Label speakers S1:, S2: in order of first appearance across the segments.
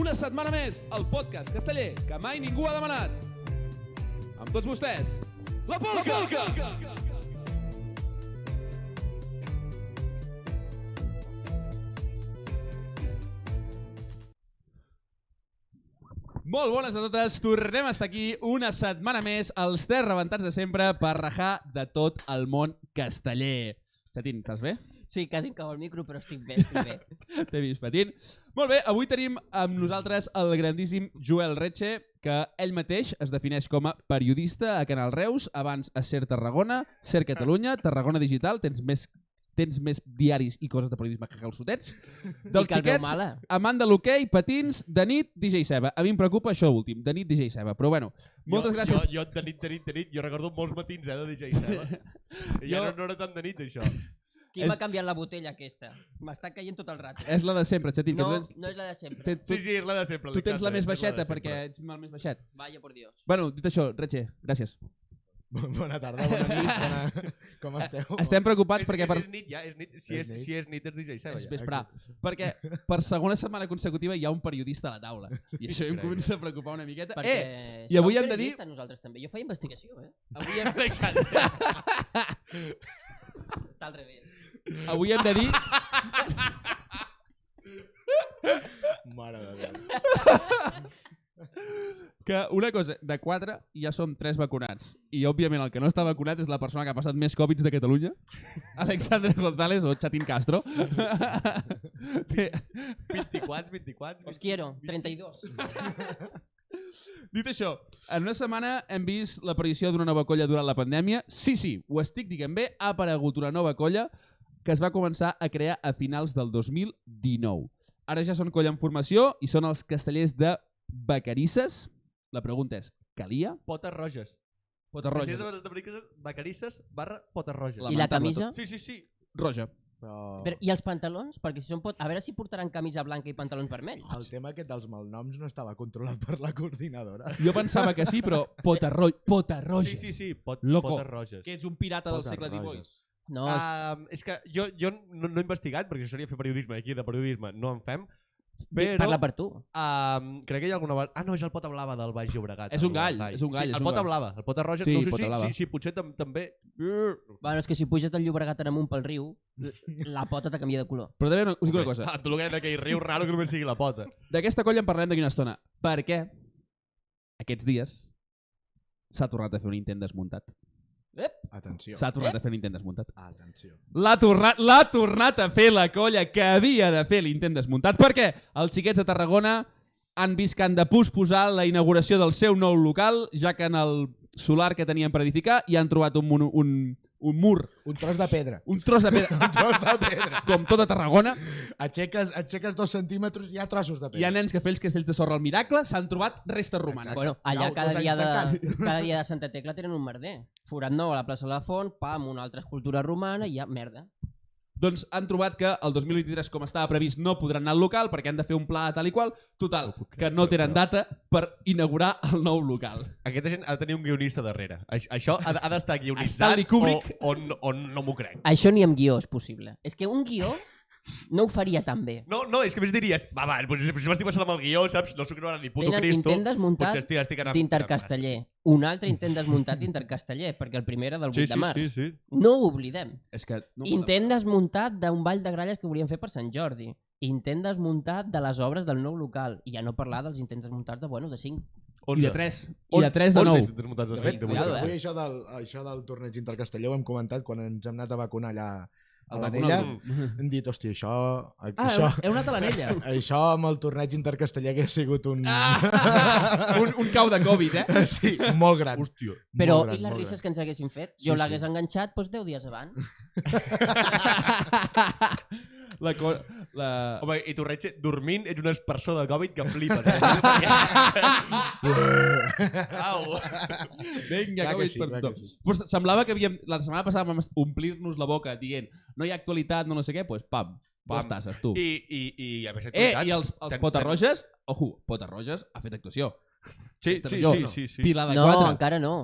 S1: Una setmana més, el podcast casteller que mai ningú ha demanat. Amb tots vostès, la Polca! La Polca! Molt bones a totes, tornem a estar aquí una setmana més als tres rebentats de sempre per rajar de tot el món casteller. Xatín, estàs bé?
S2: Sí, quasi em cau el micro, però estic bé, estic bé.
S1: T'he vist patint. Molt bé, avui tenim amb nosaltres el grandíssim Joel Retxe, que ell mateix es defineix com a periodista a Canal Reus, abans a Ser Tarragona, Ser Catalunya, Tarragona Digital, tens més tens més diaris i coses de periodisme que calçotets, dels
S2: I que el eh? veu
S1: xiquets,
S2: mala.
S1: amant de l'hoquei, patins, de nit, DJ Seba. A mi em preocupa això últim, de nit DJ Seba. Però bueno, moltes
S3: jo,
S1: gràcies.
S3: Jo, jo de nit, de nit, de nit, jo recordo molts matins eh, de DJ Seba. I
S1: Jo-
S3: jo... no, no era tant de nit, això.
S2: Qui
S1: És-
S2: m'ha canviat la botella aquesta? M'està caient tot el rato.
S1: És la de sempre, Xatín.
S2: No,
S1: que tu tens,
S2: no és la de sempre.
S1: te- tu,
S3: Sí, sí, és la de sempre.
S1: tu tens la
S3: exacte,
S1: més
S3: és de
S1: baixeta
S3: sempre.
S1: perquè ets el més baixet.
S2: Vaya por Dios.
S1: Bueno, dit això, Retxe, gràcies.
S4: Bona tarda, bona nit, bona... com esteu?
S1: Estem preocupats
S3: Oh, És,
S1: perquè... Per...
S3: perquè és, nit, ja, és nit. Si
S4: És
S3: és,
S4: nit.
S3: si és nit, és DJ Seba.
S1: És
S3: Ja.
S1: vespre. Perquè per segona setmana consecutiva hi ha un periodista a la taula. I això em
S3: Increïble.
S1: comença a preocupar una miqueta.
S2: Perquè
S1: Eh,
S2: som
S1: i avui hem de dir-
S2: periodistes Nosaltres també. Jo faig investigació, eh?
S1: avui hem,
S3: Exacte.
S2: Està al revés.
S1: Eh, avui hem de dir...
S4: Mare de Déu.
S1: que una cosa, de quatre ja som tres vacunats. I òbviament el que no està vacunat és la persona que ha passat més Covid de Catalunya, Alexandre González o Chatín Castro. Té-
S3: 24, 24.
S2: Os quiero. 32.
S1: Dit això, en una setmana hem vist l'aparició d'una nova colla durant la pandèmia. Sí, sí, ho estic dient bé, ha aparegut una nova colla que es va començar a crear a finals del 2019. Ara ja són colla en formació i són els castellers de Vacarisses. La pregunta és, calia?
S3: Potes roges.
S1: Pota roja.
S3: Castellers de Vacarisses, vacarisses barra potes roges.
S1: La
S2: I
S1: mà.
S2: la
S1: Lamentable
S2: camisa?
S3: Sí, sí, sí.
S1: Roja.
S4: Però
S2: Però, I els pantalons? Perquè si són pot... A veure si portaran camisa blanca i pantalons vermells.
S4: el tema aquest dels malnoms no estava controlat per la coordinadora.
S1: Jo pensava que sí, però pota, ro pota roja.
S3: Sí, sí, sí. Pot,
S1: Loco.
S3: Potes roges.
S1: Que ets un pirata del
S4: Potes
S1: segle XVIII.
S4: roges.
S2: No, és-
S3: Ah, és que jo, jo no, no he investigat, perquè això seria fer periodisme, aquí de periodisme no en fem,
S2: dic,
S3: però
S2: parla per tu.
S3: Um, crec que hi ha alguna... bar- Ah, no, és el Pota Blava del Baix Llobregat.
S1: És un
S3: el
S1: gall,
S3: Vall.
S1: és un gall,
S3: Sí,
S1: és
S3: el
S1: un
S3: Pota
S1: gall.
S3: Blava, el Pota Roja.
S1: Sí,
S3: no sé
S1: Pota
S3: si,
S1: Blava.
S3: si, si potser tam també... Ah,
S2: Bueno, és que si puges del Llobregat en amunt pel riu, la pota te canvia de color.
S1: Però també us dic una cosa.
S3: tu el que d'aquell riu raro que només sigui la pota.
S1: D'aquesta colla en parlarem d'aquí una estona. Perquè aquests dies s'ha tornat a fer un intent desmuntat.
S4: Atenció.
S1: S'ha tornat a fer un intent desmuntat.
S4: Atenció.
S1: L'ha tornat, l'ha tornat a fer la colla que havia de fer l'intent desmuntat perquè els xiquets de Tarragona han vist que han de posposar la inauguració del seu nou local, ja que en el solar que tenien per edificar hi han trobat un, monu- un, un mur,
S4: Un tros de pedra.
S1: un tros de pedra,
S4: Un tros de pedra.
S1: com tota Tarragona,
S4: Aixeques, aixeques dos centímetres i hi ha trossos de pedra.
S1: Hi ha nens que fer els castells de sorra al miracle, s'han trobat restes romanes.
S4: Exacte.
S2: Bueno, allà
S4: Clau,
S2: cada
S4: dos
S2: dia,
S4: anys
S2: de,
S4: tancant.
S2: cada dia de Santa Tecla tenen un merder. Forat nou a la plaça de la Font, pam, una altra escultura romana i ja, merda.
S1: Doncs han trobat que el 2023, com estava previst, no podran anar al local perquè han de fer un pla tal i qual. Total, que no tenen data per inaugurar el nou local.
S3: Aquesta gent ha de tenir un guionista darrere. Aix- Això ha, de- ha d'estar guionitzat
S1: Stanley Kubrick.
S3: o, o, no- o no m'ho crec.
S2: Això ni amb guió és possible. És que un guió no ho faria tan bé.
S3: No, no, és que a més diries, va, va, potser, potser m'estic passant amb el guió, saps? No sóc no ni puto
S2: Tenen
S3: Cristo.
S2: intent desmuntat
S3: Potser estic, estic anant...
S2: d'intercasteller. Un altre intent desmuntat d'intercasteller, perquè el primer era del 8
S3: Sí,
S2: de
S3: sí,
S2: març.
S3: sí, sí.
S2: No ho oblidem.
S1: És que... No
S2: Intent desmuntat d'un ball de gralles que volien fer per Sant Jordi. Intent desmuntat de les obres del nou local. I ja no parlar dels intents desmuntats de, bueno, de 5.
S1: I de 3. I de 3 de 9.
S3: de
S4: De
S3: fet,
S4: fet,
S3: de
S1: vuit,
S4: avui,
S1: cuidado,
S4: avui
S1: eh?
S4: això, del, això del torneig intercastelló ho hem comentat quan ens hem anat a vacunar allà a
S1: El
S4: l'Anella.
S1: vacunat.
S4: Hem dit, hòstia, això... Ah,
S1: Ah,
S4: això,
S1: heu, heu anat a l'anella.
S4: això amb el torneig intercastellà hauria sigut un...
S1: Ah, un, un cau de Covid, eh?
S4: Sí, molt gran.
S3: Hòstia.
S2: Però
S4: molt gran,
S2: i les
S4: molt
S2: risques
S4: gran.
S2: que ens haguessin fet?
S4: Sí,
S2: Jo
S4: sí.
S2: l'hagués enganxat doncs, 10 dies abans.
S1: La, co la...
S3: Home, i tu, Retxe, dormint, ets una espersó de Covid que flipes. Eh? Au.
S1: Vinga,
S4: Clar
S1: Covid
S4: que sí,
S1: per
S4: clar
S1: tothom.
S4: que sí.
S1: Pues semblava que havíem, la setmana passada vam omplir-nos la boca dient no hi ha actualitat, no no sé què, doncs pues, pam,
S3: Pam.
S1: dos tasses, tu.
S3: I, i, i a més,
S1: Eh, i els, els
S3: Ten-
S1: Potes
S3: ten-
S1: Roges, ojo, Potes Roges ha fet actuació.
S3: Sí,
S1: Aquesta
S3: sí,
S1: no,
S3: sí,
S1: no.
S3: sí, sí.
S1: Pilar de
S2: No,
S1: 4.
S2: encara no.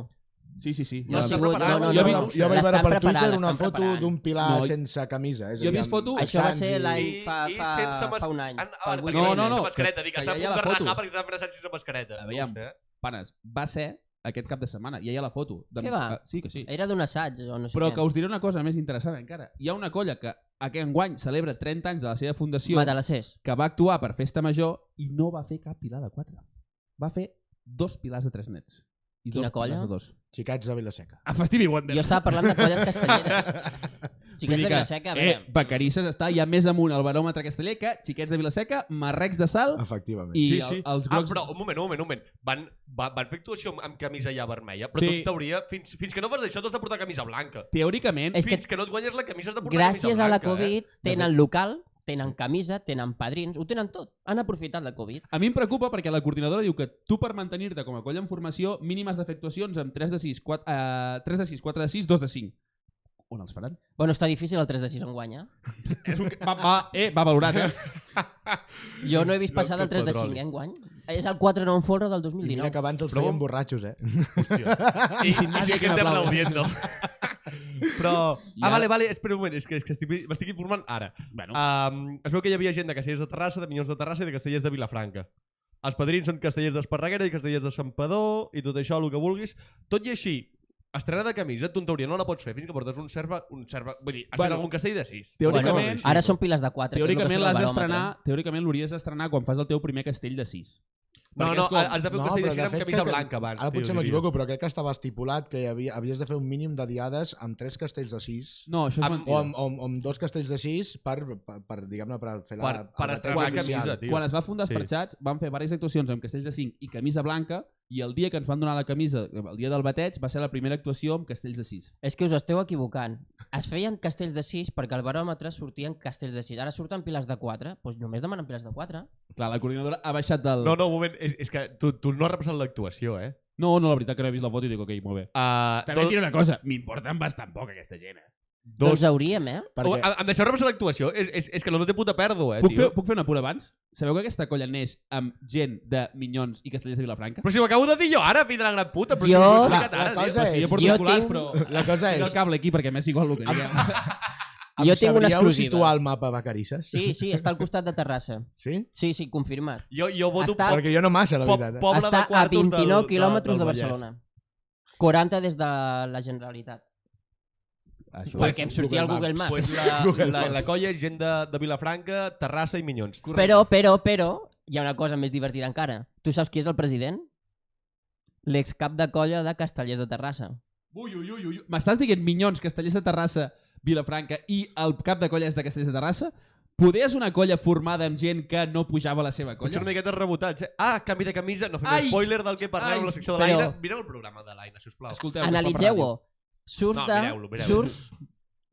S1: Sí, sí, sí.
S2: No,
S1: Ja-
S2: ha
S3: sí,
S2: sigut...
S3: preparat,
S2: No, no,
S4: jo,
S2: no,
S3: vi-
S4: vaig-
S2: no,
S4: jo vaig
S2: l'estan
S4: veure per
S2: preparant,
S4: Twitter una
S2: l'estan
S4: foto
S2: preparant.
S4: d'un pilar
S1: No, i-
S4: sense camisa. És a
S1: jo he
S4: dir,
S1: vist
S4: amb
S1: foto-
S2: Això va
S4: texans
S2: ser
S4: i-
S2: l'any
S3: I-
S2: fa,
S3: i
S2: fa,
S3: sense mas-
S2: fa un any.
S3: Ah,
S2: fa
S3: no,
S2: vuit
S1: no,
S2: anys.
S1: no,
S3: sense
S1: que-
S3: mascareta, dic,
S1: que
S3: està a
S1: ja hi ha la
S3: punt de rajar
S1: foto.
S3: perquè s'ha abraçat sense mascareta.
S1: Aviam.
S3: No ho sé.
S1: Panes, va ser aquest cap de setmana. Ja hi ha la foto. De...
S2: Què va?
S1: Ah, Sí, que sí.
S2: Era d'un assaig o no sé
S1: Però
S2: què.
S1: que us diré una cosa més interessant encara. Hi ha una colla que aquest enguany celebra 30 anys de la seva fundació
S2: Matalassers.
S1: que va actuar per festa major i no va fer cap pilar de 4. Va fer dos pilars de tres nets. I
S2: Quina
S1: dos
S2: colla?
S1: pilars de dos.
S4: Xicats de Vilaseca.
S1: A Festivi Wonder.
S2: Jo estava parlant de colles castelleres.
S1: Vull
S2: Xiquets de
S1: dir que,
S2: Vilaseca, a
S1: eh,
S2: veure.
S1: Vacarisses està ja més amunt al baròmetre casteller que Xiquets de Vilaseca, Marrecs de Sal
S4: Efectivament.
S1: i
S3: Sí,
S1: el-
S3: sí.
S1: els
S3: Ah,
S1: grocs...
S3: però un moment, un moment, un moment. Van, va, van fer actuació amb, amb camisa ja vermella, però sí.
S1: Sí.
S3: tu en teoria, fins, fins que no fas això, t'has de portar camisa blanca.
S1: Teòricament,
S2: És
S3: És
S2: que-
S3: fins que... no et guanyes la camisa has de portar
S2: Gràcies
S3: camisa
S2: a la
S3: blanca. eh?
S2: Covid
S4: De
S2: tenen local, tenen camisa, tenen padrins, ho tenen tot. Han aprofitat la Covid.
S1: a mi em preocupa perquè la coordinadora diu que tu per mantenir-te com a colla en formació, mínimes d'efectuacions amb 3 de 6, 4, eh, 3 de 6, 4 de 6, 2 de 5. On els faran?
S2: Bueno, està difícil el 3 de eh? 6 en guanya.
S1: És un... va, va, eh, va valorat, eh?
S2: Jo no he vist
S3: No,
S2: passar
S3: que
S2: del 3 de
S3: petroli.
S2: 5 en guany. És el 4 9 forra del
S4: I mira
S2: 2019.
S4: que abans els
S3: Però-
S4: feien borratxos, eh?
S3: Eh? Hòstia. I, I si
S4: Ah,
S1: nadie que
S3: que
S1: me
S3: estem
S1: aplaude.
S3: aplaudiendo. però...
S1: I
S3: Ah,
S1: ara-
S3: vale, vale, espera un moment, és que, és que estic- m'estic informant ara.
S1: Bueno,
S3: Um, es veu que hi havia gent de Castellers de Terrassa, de Minyons de Terrassa i de Castellers de Vilafranca. Els padrins són Castellers d'Esparreguera i Castellers de Santpedor i tot això, el que vulguis. Tot i així, estrenar de camisa, tonteria, no la pots fer fins que portes un serva... Un serva vull dir, has
S1: Bueno.
S3: bueno, fet algun castell de sis.
S1: Teòricament-
S3: Bueno,
S2: Bueno, ara són piles de 4.
S1: teòricament l'has d'estrenar, teòricament l'hauries d'estrenar quan fas el teu primer castell de 6.
S3: No, no, has de fer un castell de
S4: però
S3: sis amb
S4: fet
S3: camisa
S4: que-
S3: blanca abans.
S4: Ara
S3: tio,
S4: potser
S3: diria.
S4: m'equivoco, però crec que estava estipulat que hi havia, havies de fer un mínim de diades amb tres castells de sis
S1: No, això és
S3: Amb-
S1: mentida.
S4: o amb, o, amb, o amb dos castells de sis per, per, per diguem-ne, per fer la...
S3: Per, per
S4: el bateig
S3: estrenar la
S4: oficial.
S3: camisa, tio.
S1: Quan es va fundar
S3: Sí.
S1: sí. Esparxats, van fer diverses actuacions amb castells de 5 i camisa blanca i el dia que ens van donar la camisa, el dia del bateig, va ser la primera actuació amb castells de 6.
S2: És que us esteu equivocant. Es feien castells de 6 perquè al baròmetre sortien castells de 6. Ara surten piles de 4, doncs només demanen piles de 4.
S1: Clar, la coordinadora ha baixat del...
S3: No, no, un moment, és, és que tu, tu no has repassat l'actuació, eh?
S1: no, no la veritat que no he vist la foto i dic, ok, molt bé.
S3: Uh,
S1: També diré una cosa, m'importen bastant poc aquesta gent, eh?
S2: Dos.
S3: dos...
S2: Doncs hauríem, eh?
S3: Oh,
S4: Perquè,
S3: em em deixeu repassar l'actuació? És, és, és que no té puta pèrdua, eh,
S1: Puc fer,
S3: tio.
S1: puc fer un apur abans? Sabeu que aquesta colla neix amb gent de Minyons i Castellers de Vilafranca?
S3: Però si ho acabo de dir jo ara, fill de la gran puta. Però
S2: Jo-
S3: Si m'ho he
S4: la,
S3: explicat
S4: la
S3: ara, tio.
S4: cosa
S1: És que jo
S4: és...
S1: porto
S2: jo
S1: auriculars,
S2: tinc-
S1: però...
S4: La cosa
S1: Tinc el
S4: és...
S1: cable aquí perquè m'és igual el que diguem.
S2: Jo
S4: em
S2: tinc una
S4: sabríeu
S2: exclusiva.
S4: situar el mapa Vacarisses?
S2: Sí, sí, està al costat de Terrassa.
S4: Sí?
S2: Sí, sí, confirmat.
S3: Jo, jo voto
S2: Està-
S3: està...
S4: Perquè jo no massa, la
S3: po
S4: veritat. eh?
S3: poble
S2: està
S3: de
S2: a
S3: quartos
S2: 29
S3: del,
S2: quilòmetres
S3: del,
S2: de
S3: del Vallès.
S2: Barcelona. 40 des de la Generalitat.
S1: Això
S2: Pues,
S1: és
S2: perquè em sortia el Google Maps.
S3: Pues la, la, la colla és gent de, de Vilafranca, Terrassa i Minyons.
S1: correcte.
S2: Però, però, però, hi ha una cosa més divertida encara. Tu saps qui és el president? L'excap de colla de Castellers de Terrassa.
S1: Ui, ui, ui, ui. ui. M'estàs dient Minyons, Castellers de Terrassa, Vilafranca i el cap de colla és de Castellers de Terrassa? Poder és una colla formada amb gent que no pujava a la seva
S3: Potser
S1: colla?
S3: una miqueta rebotats. Eh? Ah, canvi de camisa. No fem
S1: Ai!
S3: spoiler del que parlàvem
S1: Ai!
S3: a la secció de
S2: Però-
S3: l'Aina. Mireu el programa de l'Aina, sisplau.
S1: Escolteu,
S2: Analitzeu-ho. Surts
S3: No,
S2: de...
S3: mireu-lo, mireu-lo.
S2: Surts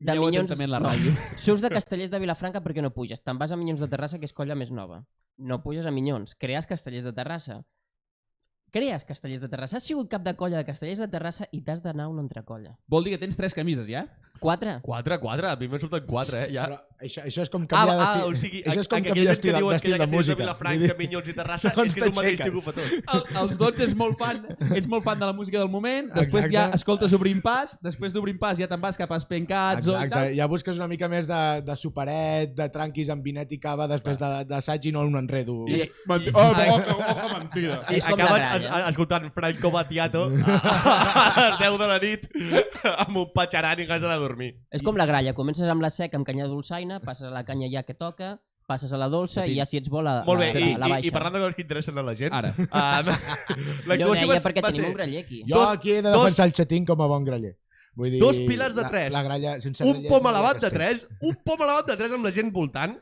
S2: de
S1: Mireu
S2: Minyons...
S1: atentament la
S2: no,
S1: ràdio.
S2: surts de Castellers de Vilafranca perquè no puges. Te'n vas a Minyons de Terrassa, que és colla més nova. No puges a Minyons. Crees Castellers de Terrassa. Crees Castellers de Terrassa. Has sigut cap de colla de Castellers de Terrassa i t'has d'anar a una altra colla.
S1: Vol dir que tens tres camises, ja?
S2: Quatre?
S3: 4, 4. A mi me'n surten 4, eh? Ja.
S4: Però això, això és com
S3: Ah,
S4: canviar
S3: ah,
S4: d'estil...
S3: o sigui,
S4: això és com
S3: aquella gent
S4: canviar
S3: que
S4: d'estil
S3: diuen que hi
S4: d'estil
S3: ha
S4: de
S3: castells
S4: música.
S3: de Vilafranca,
S4: Vull dir,
S3: Minyons i Terrassa,
S4: Segons
S3: és que és un mateix
S4: t'aixeques.
S3: tio que ho fa tot.
S1: El, els 12 és molt fan, ets molt fan de la música del moment, després
S4: Exacte.
S1: ja escoltes Obrint Pas, després d'Obrint Pas ja te'n vas cap a
S3: Ah,
S1: Espencats o i
S4: Exacte,
S1: tal.
S4: ja busques una mica més de, de superet, de tranquis amb vinet i cava després de- d'assaig i no un enredo.
S3: I, i,
S1: Oh,
S3: ai,
S1: oja, oja, mentida.
S3: I
S2: És com
S3: acabes
S2: la
S3: es,
S2: gralla.
S3: es- escoltant Franco Battiato a les 10 de la nit amb un patxaran i ganes d'anar a dormir.
S2: És com la gralla, comences amb la seca, amb canya dolçaina, passes a la canya ja que toca, passes a la dolça i ja si ets bo la,
S3: Molt bé,
S2: la,
S3: i,
S2: la, la
S3: i,
S2: baixa.
S3: i parlant de coses que interessen a la gent...
S1: Ara.
S3: Um,
S2: Jo
S3: L'actuació va,
S2: deia perquè
S3: va
S2: tenim
S3: ser
S2: un graller aquí.
S4: Jo
S3: Dos-
S4: aquí he de
S3: dos-
S4: defensar el xatín com a bon graller. Vull dir,
S3: Dos pilars de
S4: la-
S3: tres.
S4: La, gralla, sense
S3: un
S4: grallers
S3: pom
S4: no hi ha
S3: elevat de
S4: castells.
S3: 3, un pom elevat de 3 amb la gent voltant.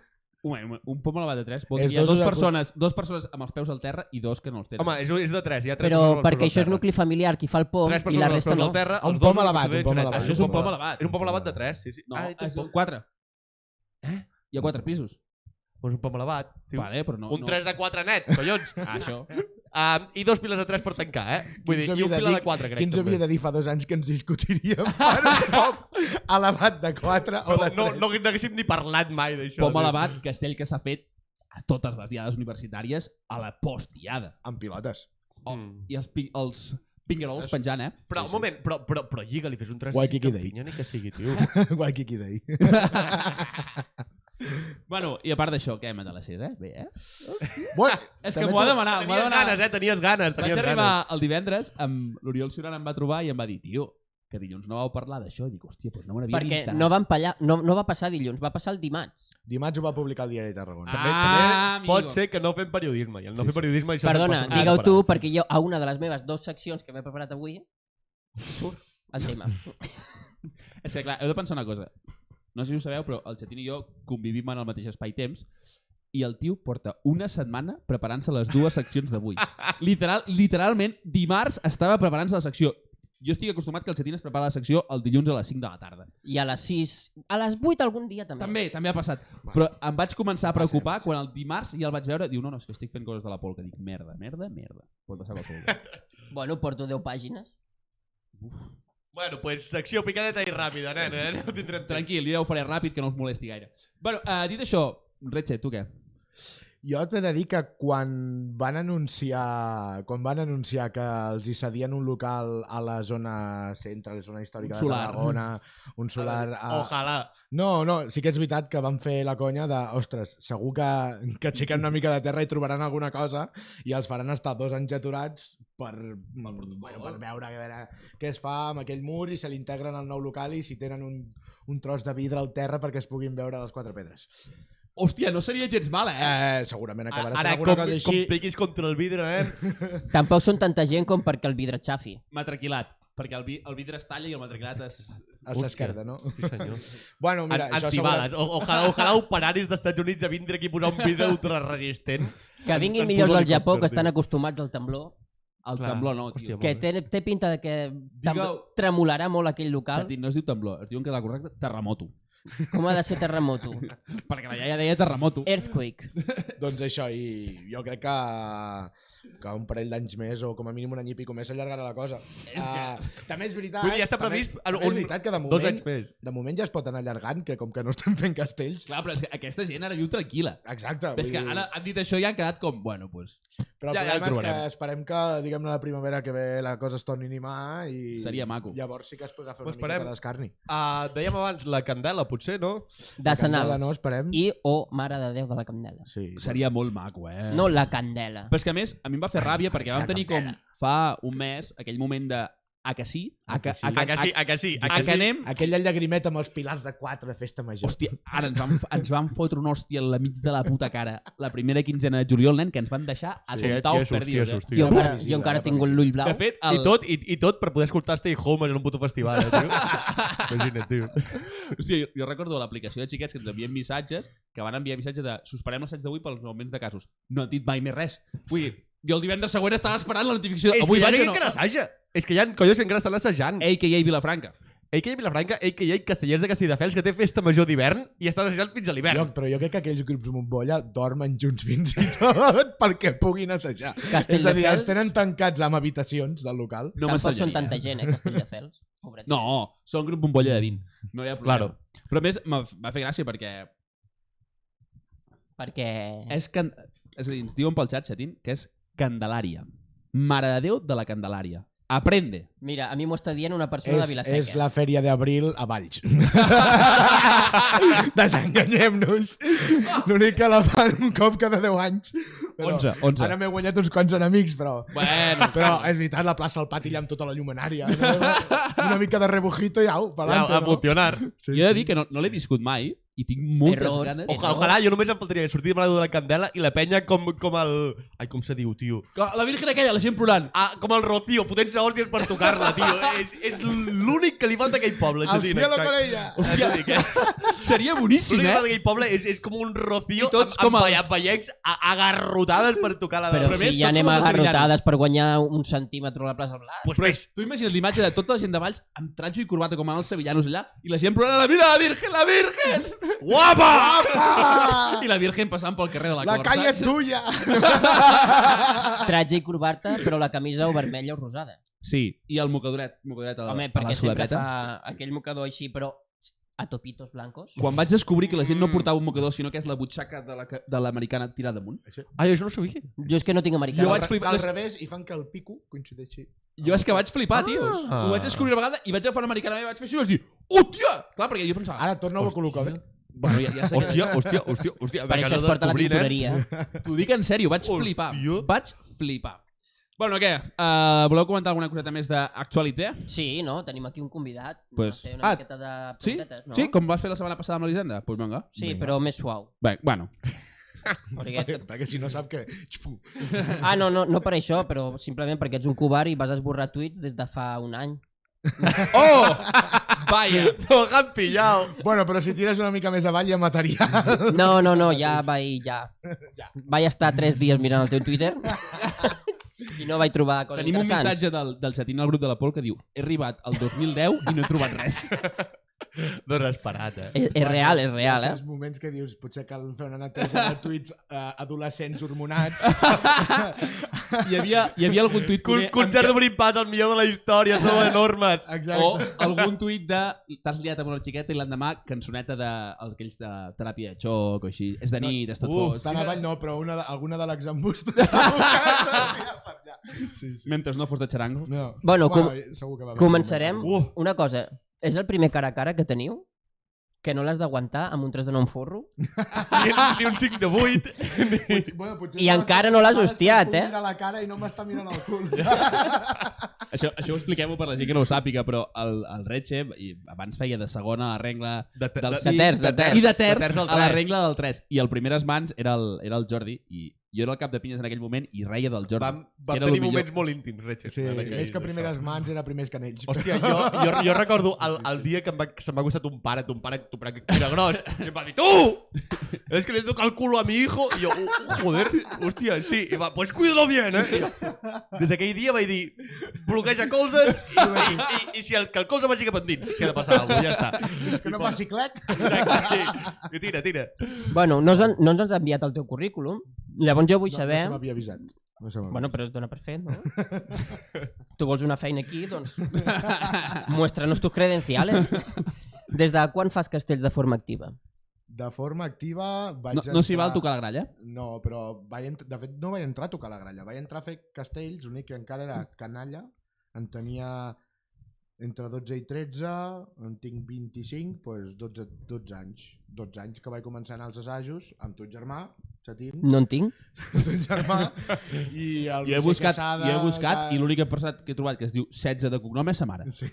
S1: Un, moment, un pom elevat de tres vol dir
S4: És
S1: que hi ha
S4: dos
S1: dues
S4: de-
S1: persones, dues persones amb els peus al terra i dos que no els tenen.
S3: Home, és, és de 3, hi ha 3
S2: Però perquè això és nucli familiar, qui fa el pom
S3: Tres
S2: i la resta
S3: persones amb els peus
S2: no.
S3: al terra,
S4: Un
S3: els dos
S4: pom elevat, un pom elevat.
S1: això és un pom elevat.
S3: És un pom elevat de 3, sí, sí.
S1: No,
S3: Ah,
S1: ah,
S3: és un
S1: és
S3: pom,
S1: quatre. Eh? Hi ha quatre pisos.
S3: doncs un pom elevat. tio.
S1: Vale, però no...
S3: Un
S1: no.
S3: 3 de 4 net, collons.
S1: Ah, això.
S3: Um, I dos piles de 3 per tancar, eh? Vull dir,
S4: Quins
S3: i un
S4: havia de
S3: pilar
S4: dir-
S3: de 4, crec.
S4: Qui ens
S3: també.
S4: havia de dir fa dos anys que ens discutiríem per un pom elevat de 4 o de
S3: No, no,
S4: 3?
S3: no n'haguéssim ni parlat mai d'això.
S1: Pom
S3: tio.
S1: elevat, castell que s'ha fet a totes les diades universitàries a la postdiada.
S4: Amb pilotes.
S1: Oh,
S3: Mm.
S1: I els, pi- els Pinguerols penjant, eh?
S3: Però, un moment, però, però, però lliga, li fes un 3
S4: Waikiki Day.
S3: Pinya, ni que sigui, tio.
S4: Waikiki Day.
S1: Bueno, i a part d'això, què hem de les 6, eh? Bé, eh?
S4: Bueno,
S1: És que
S4: també
S1: m'ho ha
S4: tu-
S1: demanat, m'ho ha
S3: tenies
S1: demanat.
S3: ganes, eh? Tenies ganes,
S1: Vaig
S3: tenies
S1: arribar
S3: ganes.
S1: el divendres, amb l'Oriol Ciuran em va trobar i em va dir, tio, que dilluns no vau parlar d'això. I dic, hòstia, doncs no me n'havia
S2: Perquè
S1: dit tant.
S2: no, van pallar, no, no va passar dilluns, va passar el dimarts.
S4: Dimarts ho va publicar el diari de Tarragona.
S3: També,
S1: Ah,
S3: també
S1: amigo.
S3: pot ser que no fem periodisme. I el no fer periodisme... Això
S2: Perdona,
S3: se'n passa
S2: digue-ho
S3: per
S2: tu,
S3: alt.
S2: perquè jo a una de les meves dues seccions que m'he preparat avui surt el tema.
S1: És que, clar, heu de pensar una cosa. No sé si ho sabeu, però el Xatín i jo convivim en el mateix espai-temps i el tio porta una setmana preparant-se les dues seccions d'avui. Literal, literalment, dimarts estava preparant-se la secció. Jo estic acostumat que el Xatín es prepara la secció el dilluns a les 5 de la tarda.
S2: I a les 6, a les 8 algun dia també.
S1: També, també ha passat.
S4: Bueno,
S1: Però em vaig començar a
S4: va ser,
S1: preocupar
S4: va ser.
S1: quan el dimarts ja el vaig veure. Diu, no, no, és que estic fent coses de la polca. Dic, merda, merda, merda. Pot passar qualsevol cosa.
S2: Bueno, porto 10 pàgines.
S3: Bueno, pues secció picadeta i ràpida, nen, eh? No tindrem temps.
S1: Tranquil, jo ho faré ràpid, que no us molesti gaire. Bueno, eh, dit això, Retxe, tu què?
S4: Jo t'he de dir que quan van anunciar quan van anunciar que els hi cedien un local a la zona centre, a la zona històrica
S1: Un
S4: de
S1: solar.
S4: Tarragona, un solar... ah. A...
S3: Ojalà.
S4: No, no, sí que és veritat que van fer la conya de, ostres, segur que, que aixequen una mica de terra i trobaran alguna cosa i els faran estar dos anys aturats per, bueno, per veure, a veure què es fa amb aquell mur i se l'integren al nou local i si tenen un, un tros de vidre al terra perquè es puguin veure les quatre pedres.
S1: Hòstia, no seria gens mala, eh?
S4: Eh, segurament acabarà sent
S3: Ara,
S4: alguna
S3: com,
S4: cosa
S3: com
S4: així.
S3: piquis contra el vidre, nen.
S2: Tampoc són tanta gent com perquè el vidre xafi.
S1: matraquilat, perquè el, vi, el vidre es talla i el matraquilat es...
S4: A
S3: Hòstia.
S4: l'esquerda, no?
S3: Sí, senyor.
S4: Bueno, mira,
S3: Mira,
S4: això
S3: Antibales.
S4: segura...
S3: O, ojalà, ojalà operaris dels Estats Units a vindre aquí a posar un vidre ultraresistent.
S2: Que
S3: En-
S2: vinguin
S3: en
S2: millors del
S3: Puroni
S2: Japó, que
S3: Copter,
S2: estan
S3: tio.
S2: acostumats al temblor,
S1: El
S3: Clar.
S1: temblor no, tio.
S3: Hòstia,
S2: que
S3: molt bé.
S2: té, té pinta de que tam-
S1: Digue-ho.
S2: tremolarà molt aquell local.
S1: Xatín, no es diu temblor, es diu en català correcte terremoto.
S2: Com ha de ser terremoto?
S1: Perquè la iaia deia terremoto.
S2: Eh. Earthquake.
S4: Doncs això, i jo crec que que un parell d'anys més o com a mínim un any i pico més s'allargarà la cosa.
S1: que-
S4: Uh, també és veritat...
S3: Vull dir, ja està
S4: també-
S3: previst
S4: També
S3: un-
S4: és veritat que de
S3: Dos
S4: moment,
S3: anys més.
S4: de moment ja es pot anar allargant, que com que no estem fent castells...
S1: Clar, però és que aquesta gent ara viu tranquil·la.
S4: Exacte.
S1: Però és que
S4: dir-
S1: ara han dit això i han quedat com, bueno, doncs,
S4: Però el
S3: Ja- ja el
S4: problema és que
S3: trobarem.
S4: esperem que, diguem-ne, la primavera que ve la cosa es torni a animar i...
S1: Seria maco.
S4: Llavors sí que es podrà fer
S3: Ho
S4: una
S3: esperem.
S4: miqueta d'escarni.
S3: Uh, dèiem abans la candela, potser, no?
S2: De
S4: La candela
S2: Sanals.
S4: No, esperem.
S2: I o Mare de Déu de la Candela.
S4: Sí.
S1: seria molt maco, eh?
S2: No la Candela.
S1: Però és que a més, a mi em va fer ràbia perquè
S4: Serà
S1: vam tenir com fa un mes aquell moment de a que sí, a que, a
S3: A
S1: que,
S3: que sí, a que sí, a
S1: a
S3: que
S1: que
S3: sí.
S1: anem...
S4: Aquella llagrimeta amb els pilars de quatre de festa major.
S1: Hòstia, ara ens van, ens van fotre un hòstia a la mig de la puta cara. La primera quinzena de juliol, nen, que ens van deixar a
S3: Sí,
S1: sí, comptar
S3: tiesos,
S1: perdidos.
S3: tiesos,
S1: Eh?
S3: tio.
S2: Jo,
S4: Era
S2: encara,
S4: previsible,
S2: jo encara
S4: era
S2: tinc l'ull blau.
S1: De fet,
S3: I
S1: el,
S3: tot, i, i tot per poder escoltar Stay Home en un puto festival, eh, tio? Imagina't, tio.
S1: O sigui, jo recordo l'aplicació de xiquets que ens envien missatges, que van enviar missatges de suspenem l'assaig d'avui pels augments de casos. No han dit mai més res. Vull dir, jo el divendres següent estava esperant la notificació. de,
S3: És
S1: Avui
S3: que hi ha
S1: vaig
S3: gent
S1: o
S3: que
S1: no? Eh.
S3: no assaja. És que hi ha collos que encara estan assajant.
S1: A.K.A. Vilafranca.
S3: AKA Vilafranca, AKA Castellers de Castelldefels, que té festa major d'hivern i estan assajant fins a l'hivern.
S4: Jo, però jo crec que aquells grups Montbolla dormen junts fins i tot perquè puguin assajar.
S2: Castelldefels-
S4: És a dir, els tenen tancats amb habitacions del local.
S1: No
S2: Tampoc són
S1: m'estranyaria.
S2: tanta gent, eh, Castelldefels. Pobret.
S1: No, són grup bombolla de 20. No hi ha problema.
S3: Claro.
S1: Claro. Però a més, em va fer gràcia perquè
S2: Perquè...
S1: és, can... és a dir, ens diuen pel xat, xatín, que és Candelària. Mare de Déu de la Candelària. Aprende.
S2: Mira, a mi m'ho està dient una persona de
S4: És,
S2: Vilaseca.
S4: és la fèria d'abril a Valls. Desenganyem-nos. L'únic que la fan un cop cada 10 anys. Però
S1: 11, 11.
S4: Ara m'he guanyat uns quants enemics, però...
S1: Bueno,
S4: Però és veritat, la plaça al pati allà amb tota la llumenària. Una mica de rebujito i au,
S3: Ja,
S4: pa'lante.
S3: a funcionar.
S4: Sí,
S1: jo he de dir que no, no l'he viscut mai i tinc moltes
S2: Error.
S1: ganes.
S3: Oja, ojalà, jo només em faltaria sortir de Maradona de la Candela i la penya com, com el... Ai, com se diu, tio?
S1: La Virgen aquella, la gent plorant.
S3: Ah, com el Rocío, fotent-se hòsties per tocar-la, tio. És, és l'únic que li falta a aquell poble,
S4: Al
S3: Jodina.
S4: cielo con ella.
S3: Hòstia, dic, eh?
S1: Seria
S3: L'únic
S1: boníssim,
S3: que
S1: eh?
S3: falta a aquell poble és, és com un Rocío
S1: I tots
S3: amb,
S1: com
S3: amb
S1: els-
S3: els... vellecs a- agarrotades per tocar la...
S2: Però,
S1: Però a
S2: si
S1: més,
S2: ja
S1: tots
S2: anem
S1: com
S2: a
S1: els sevillanos.
S2: garrotades per guanyar un centímetre a la plaça Blas.
S3: Pues res.
S1: Tu imagines l'imatge de tota la gent de Valls amb trajo i corbata com ara els sevillanos allà i la gent plorant la vida, la Virgen, la Virgen!
S3: Guapa!
S4: Ah!
S1: I la Virgen passant pel carrer de la,
S4: La
S1: Cort.
S4: calle
S1: saps?
S4: es tuya.
S2: Tratge i corbata, però la camisa o vermella o rosada.
S1: Sí, i el mocadoret, mocadoret a la,
S2: Home,
S1: a
S2: perquè
S1: la
S2: sempre
S1: sudabreta.
S2: fa aquell mocador així, però a topitos blancos.
S1: Quan vaig descobrir que la gent no portava un mocador, sinó que és la butxaca de la ca- de l'americana la, tirada amunt,
S3: Ah, jo això no ho sabia.
S2: Jo és que no tinc americà.
S1: Jo
S4: Jo
S1: vaig
S4: vaig
S1: flipar-
S4: Al revés, i fan que el pico coincideixi.
S1: jo és que vaig flipar, ah. tios. Ho vaig descobrir una vegada i vaig agafar una americana i vaig fer això i vaig dir hòstia! Clar, perquè jo pensava...
S4: Ara torna-ho a col·locar eh? bé.
S1: Bueno, ja, ja sé que...
S3: Hòstia, hòstia, hòstia, hòstia.
S2: Per això es porta a la tintoreria. Eh?
S1: T'ho dic en sèrio, vaig
S3: Hòstia.
S1: flipar. Vaig flipar. Bueno, què? Uh, voleu comentar alguna coseta més d'actualitat?
S2: Sí, no? Tenim aquí un convidat.
S1: Pues-
S2: Fer una
S1: ah,
S2: miqueta de
S1: Sí?
S2: puntetes, no?
S1: Sí? Com vas fer la setmana passada amb l'Elisenda? Doncs pues vinga.
S2: Sí, però més suau.
S1: Bé, bueno.
S2: Perquè...
S4: Perquè, perquè si no sap que... Xpu.
S2: Ah, no, no, no per això, però simplement perquè ets un covard i vas esborrar tuits des de fa un any.
S1: Oh! Vaya!
S3: No, han pillat.
S4: Bueno, però si tires una mica més avall hi ha material.
S2: No, no, no, ja vaig, ja.
S4: Ja.
S2: Vaig estar tres dies mirant el teu Twitter i no vaig trobar coses
S1: Tenim un
S2: interessants.
S1: missatge del, del xatín al grup de la Pol que diu he arribat al 2010 i no he trobat res.
S3: No has parat, eh?
S2: És, és real, és real, eh?
S4: Els moments que dius, potser cal fer una neteja de tuits eh, adolescents hormonats.
S1: Hi havia, hi havia algun tuit
S3: Con
S1: culer amb
S3: concert d'obrir pas, el millor de la història, sou enormes.
S4: Exacte.
S1: O algun tuit de t'has liat amb una xiqueta i l'endemà cançoneta de aquells de teràpia de xoc o així. És de nit, és tot
S3: Uh,
S1: fos.
S4: Tan avall no, però una, de- alguna de l'exambusta sí, sí.
S1: Mentre no fos de xarango.
S4: No.
S2: Bueno, com-
S4: segur que va haver
S2: Començarem.
S4: un moment.
S3: Uh.
S2: Una cosa, és el primer cara a cara que teniu? Que no l'has d'aguantar amb un 3 de 9 forro?
S3: Ni, ni un 5 de 8.
S4: Potser- bueno, potser
S2: I
S4: no,
S2: encara no l'has
S4: ara és que
S2: hostiat,
S4: em puc
S2: eh?
S4: mirar la cara i no m'està mirant el cul. saps?
S1: Això, això ho expliquem-ho per la gent que no ho sàpiga, però el, el Retxe i abans feia de segona a la regla
S3: De, te-
S1: del
S3: de-
S2: sí.
S1: cinc,
S2: terç, de terç.
S1: i de terç,
S3: De terç al
S1: a la
S3: tres.
S1: regla del 3. I el primer mans era el, era el Jordi i jo era el cap de pinyes en aquell moment i reia del Jordi.
S3: Vam,
S1: que
S3: vam
S1: era el
S3: tenir
S1: millor.
S3: moments molt íntims, Retxes.
S4: Sí,
S3: en aquell-
S4: més que
S3: això.
S4: primeres mans era primers canells.
S3: Hòstia, jo, jo, jo recordo el, el dia que, em va, que se'm va acostar ton pare, ton pare, ton pare que era gros, i em va dir, tu! És que le toca el culo a mi hijo. I jo, "Uh, uh, joder, hòstia, sí. I va, pues cuídalo bien, eh? I jo, des d'aquell dia vaig dir, bloqueja colzes i, i, i, i si el, que el colze vagi cap endins, si ha de passar alguna cosa, ja està.
S4: És que no faci clac.
S3: Exacte, sí. I tira, tira.
S2: Bueno, no, ens han- no ens has enviat el teu currículum. Llavors jo vull
S4: No,
S2: saber...
S4: No se m'havia avisat. No se m'havia
S2: Bueno, però es dona per fet, no? tu vols una feina aquí, doncs... Muéstranos tus credenciales. Des de quan fas castells de forma activa?
S4: De forma activa vaig
S1: No, no s'hi
S4: entrar-
S1: val tocar la gralla?
S4: No, però vaig ent... de fet no vaig entrar a tocar la gralla, vaig entrar a fer castells, l'únic que encara era canalla, en tenia entre 12 i 13, en tinc 25, doncs 12, 12 anys. 12 anys que vaig començar a anar als assajos amb ton germà, Chatín,
S2: No en tinc.
S4: ton germà, i el
S1: Jo he
S4: Roger
S1: buscat,
S4: Quesada,
S1: jo he buscat
S4: tal.
S1: i l'única persona que he trobat que es diu 16 de cognom és sa mare.
S4: Sí.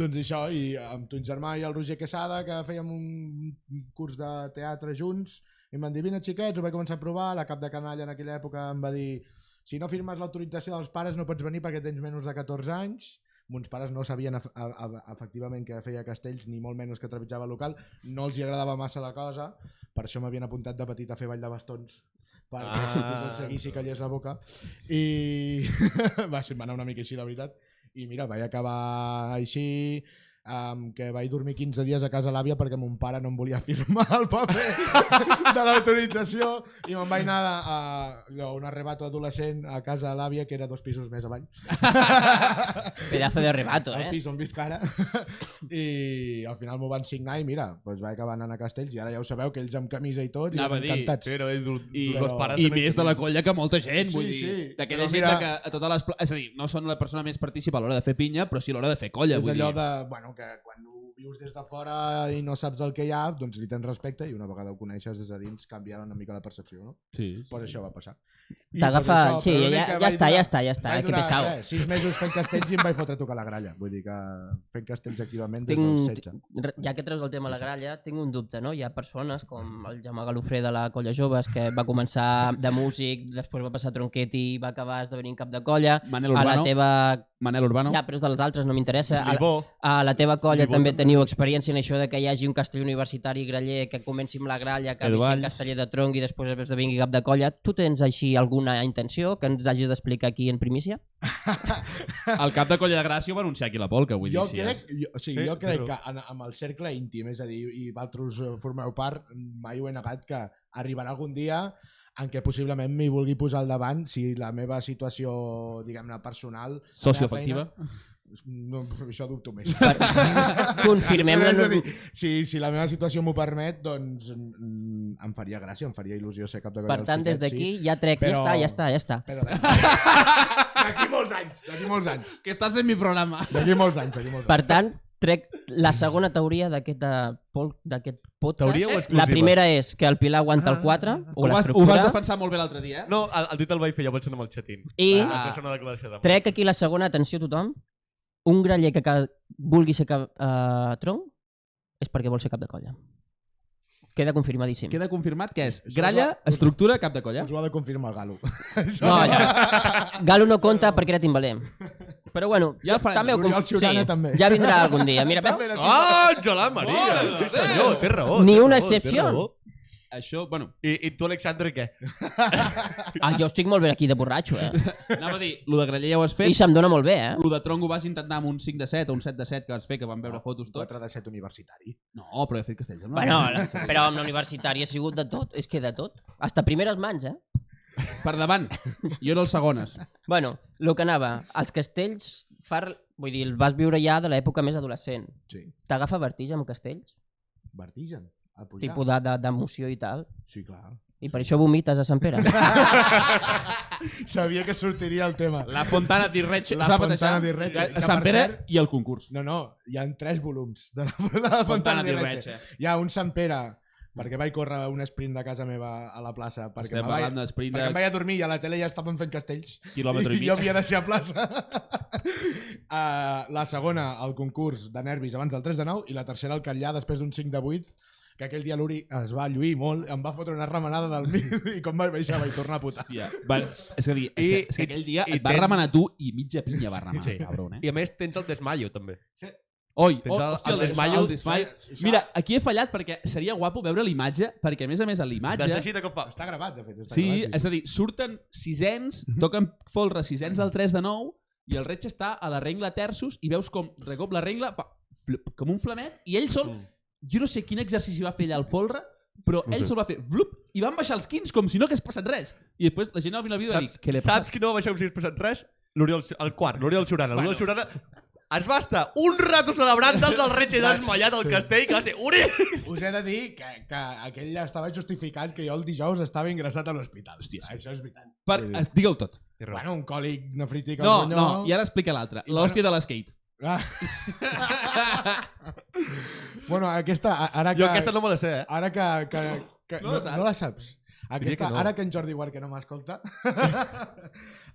S4: doncs això, i amb ton germà i el Roger Quesada, que fèiem un curs de teatre junts, i em van dir, vine xiquets, ho vaig començar a provar, la cap de canalla en aquella època em va dir, si no firmes l'autorització dels pares no pots venir perquè tens menys de 14 anys, Mons pares no sabien ef- a- a- efectivament que feia castells, ni molt menys que trepitjava el local, no els hi agradava massa la cosa, per això m'havien apuntat de petit a fer ball de bastons, perquè
S3: Ah.
S4: ah. sortís el seguís i callés la boca. I va, se'm va anar una mica així, la veritat. I mira, vaig acabar així, um, que vaig dormir 15 dies a casa l'àvia perquè mon pare no em volia firmar el paper de l'autorització i me'n vaig anar a, a, allò, un arrebato adolescent a casa de l'àvia que era dos pisos més avall.
S2: Pedazo de rebato,
S4: El
S2: eh?
S4: pis on visc ara. I al final m'ho van signar i mira, doncs vaig acabar anant a Castells i ara ja ho sabeu que ells amb camisa i tot i
S1: Anava a dir,
S4: encantats.
S3: Sí, no, ells, dos-
S1: I,
S3: dos dos pares
S1: i
S3: també-
S1: més de la colla que molta gent,
S4: Sí,
S1: vull dir,
S4: sí,
S1: d'aquella
S4: però
S1: gent
S4: mira-
S1: que a totes les... pla- És a dir, no són la persona més participa a l'hora de fer pinya, però sí a l'hora de fer colla,
S4: és
S1: vull
S4: allò
S1: dir.
S4: de, bueno, que quan ho vius des de fora i no saps el que hi ha, doncs li tens respecte i una vegada ho coneixes des de dins canvia una mica la percepció, no?
S1: Sí.
S4: Pues això va passar. I
S2: T'agafa...
S4: per això,
S2: Sí,
S4: però l'únic
S2: ja,
S4: que
S2: ja,
S4: vaig
S2: està,
S4: durar-
S2: ja està, ja està,
S4: vaig
S2: eh? Que
S4: durar,
S2: pesau.
S4: eh, sis mesos fent castells i em vaig fotre a tocar la gralla. Vull dir que fent castells activament des dels
S2: Tinc,
S4: 16.
S2: re- ja que treus el tema a la gralla, tinc un dubte, no? Hi ha persones com el Jaume Galofré de la Colla Joves que va començar de músic, després va passar a tronquet i va acabar esdevenint cap de colla.
S1: Manel
S2: A la
S1: Urbano,
S2: teva...
S1: Manel Urbano.
S2: Ja, però és de les altres, no m'interessa. A, la-
S3: Libó.
S2: a la teva colla
S3: Libó
S2: també
S3: també.
S2: teniu experiència en això de que hi hagi un castell universitari graller que comenci amb la gralla, que
S1: El
S2: vagi
S1: Valls.
S2: un casteller de tronc i després esdevingui cap de colla. Tu tens així alguna intenció que ens hagis d'explicar aquí en primícia?
S1: El cap de colla de Gràcia ho va anunciar aquí la Polca, vull
S4: Jo
S1: dir. Eh, sí,
S4: crec, jo, o sigui,
S3: Sí,
S4: jo crec
S3: però-
S4: que en, amb el cercle íntim, és a dir, i vosaltres eh, formeu part, mai ho he negat, que arribarà algun dia en què possiblement m'hi vulgui posar al davant si la meva situació, diguem-ne, personal...
S1: és Socioafectiva.
S4: No, això dubto més.
S2: Confirmem la
S4: És a dir,
S2: norma...
S4: si, si la meva situació m'ho permet, doncs mm, em faria gràcia, em faria il·lusió ser cap de colla
S2: Per
S4: dels
S2: tant, des
S4: xiquets,
S2: d'aquí
S4: Sí.
S2: ja trec.
S4: Però-
S2: Ja està, ja està, ja està.
S4: Però d'aquí- doncs, d'aquí molts anys, d'aquí molts anys.
S1: Que estàs en mi programa.
S4: D'aquí molts anys, d'aquí molts anys.
S2: Per tant, trec la segona teoria d'aquest eh, pol- d'aquest podcast.
S3: Teoria o exclusiva?
S2: La primera és que el Pilar aguanta el 4, o
S1: Ho vas, ho vas
S2: l'estructura,
S1: defensar molt bé l'altre dia, eh?
S3: No, el, el tuit el vaig fer jo pensant en el xatín.
S2: i
S3: Ah. Això és una declaració de...
S2: trec aquí la segona, atenció a tothom, un graller que, ca- vulgui ser cap, eh, tronc és perquè vol ser cap de colla. Queda confirmadíssim.
S1: Queda confirmat que és
S4: Això
S1: gralla,
S4: us va- us-
S1: estructura, cap de colla.
S4: Us ho ha de confirmar el Galo.
S2: No, ja. Galo no conta perquè era timbaler. Però bueno,
S1: Ja el farem.
S2: també ho
S4: L'Oriol
S2: conf-
S4: Ciurana també.
S2: Ja vindrà algun dia. Mira,
S4: També
S2: veus?
S4: era
S3: Àngela Ah, Maria!
S1: Mare de
S3: Sí senyor,
S1: Déu!
S3: té raó.
S2: Ni
S3: té
S2: una
S3: raó, té
S2: excepció.
S3: raó.
S1: Això, bueno,
S3: I, I tu, Alexandre, què?
S2: Ah, jo estic molt bé aquí de borratxo, eh?
S1: anava a dir, lo de graller ja ho has
S2: I
S1: fet,
S2: se'm dóna molt bé, eh?
S1: lo de tronc ho vas intentar amb un 5 de 7 o un 7 de 7 que vas fer, que van veure fotos
S4: Un
S1: tot.
S4: 4 de 7 universitari.
S1: No, però he fet castells. No?
S2: Bueno, la- però amb la universitària ha sigut de tot, és que de tot. Hasta primeres mans, eh?
S1: Per davant. Jo era el segones.
S2: Bueno, el que anava, els castells, far... vull dir, el vas viure ja de l'època més adolescent.
S4: Sí.
S2: T'agafa vertigen amb castells?
S4: Vertigen. A pujar.
S2: Tipus de- de- d'emoció de, i tal.
S4: Sí, clar.
S2: I per això vomites a Sant Pere.
S4: Sabia que sortiria el tema.
S1: La Fontana di Reggio.
S4: La
S1: es va batejar
S4: Fontana di Reggio, que,
S1: Sant
S4: per
S1: Pere
S4: cert-
S1: i el concurs.
S4: No, no, hi han tres volums de la, de la Fontana di Reggio. Hi ha un Sant Pere, perquè vaig córrer un sprint de casa meva a la plaça, perquè,
S1: Estem
S4: me vaig,
S1: parlant d'esprint
S4: perquè em
S1: de
S4: vaig a dormir i a la tele ja estaven fent castells.
S1: quilòmetre i
S4: I jo
S1: mig.
S4: havia de ser a plaça. uh, la segona, el concurs de nervis abans del 3 de 9 i la tercera, el Catllà, després d'un 5 de 8 que aquell dia l'Uri es va lluir molt, em va fotre una remenada del mil i com vaig baixar vaig tornar a putar.
S1: Hòstia. Va, és a dir, és,
S3: I-
S1: que- és que aquell dia
S3: i
S1: et va
S3: tens-
S1: remenar tu i mitja pinya va remenar,
S3: Sí.
S1: sí. cabron, eh?
S3: I a més tens el desmayo, també.
S1: Oi,
S3: Tens
S1: oh,
S3: el-
S1: hòstia,
S3: el desmayo.
S1: el desmaio. Mira, aquí he fallat perquè seria guapo veure l'imatge, perquè a més a més a
S3: Des
S1: l'imatge...
S3: així de cop fa...
S4: Està gravat, de fet. Està
S1: Sí,
S4: gravat,
S1: és a dir, surten sisens,
S3: Mhm.
S1: toquen folre sisens del 3 de 9 i el reig està a la regla terços i veus com de cop la regla fa flup, com un flamet i ell sol,
S3: Mm.
S1: jo no sé quin exercici va fer allà el folre, però ell sol va fer flup i van baixar els quins com si no hagués passat res. I després la gent al Vila Viva va dir,
S3: Saps,
S1: què li passa?
S3: saps qui no va baixar com si hagués passat res? L'Oriol, Ci- el quart, l'Oriol Ciurana. L'Oriol Ciurana ens va estar un rato celebrant del del Reig i desmallat al castell, que va ser... Uri!
S4: Us he de dir que, que aquell estava justificat que jo el dijous estava ingressat a l'hospital. Hòstia, això és veritat.
S1: Per...
S4: Vull dir-
S1: eh, Digue-ho tot.
S4: Bueno, un còlic nefrític al
S1: No,
S4: ronyó.
S1: no, i ara explica l'altra. L'hòstia de l'esquate.
S4: Ah. bueno, aquesta, a- ara que...
S3: Jo aquesta no me la sé, eh?
S4: Ara que... que, que
S1: No la
S4: no, no,
S1: saps?
S4: no la saps? Aquesta,
S3: que no.
S4: no. ara que en Jordi Guard, que no m'escolta,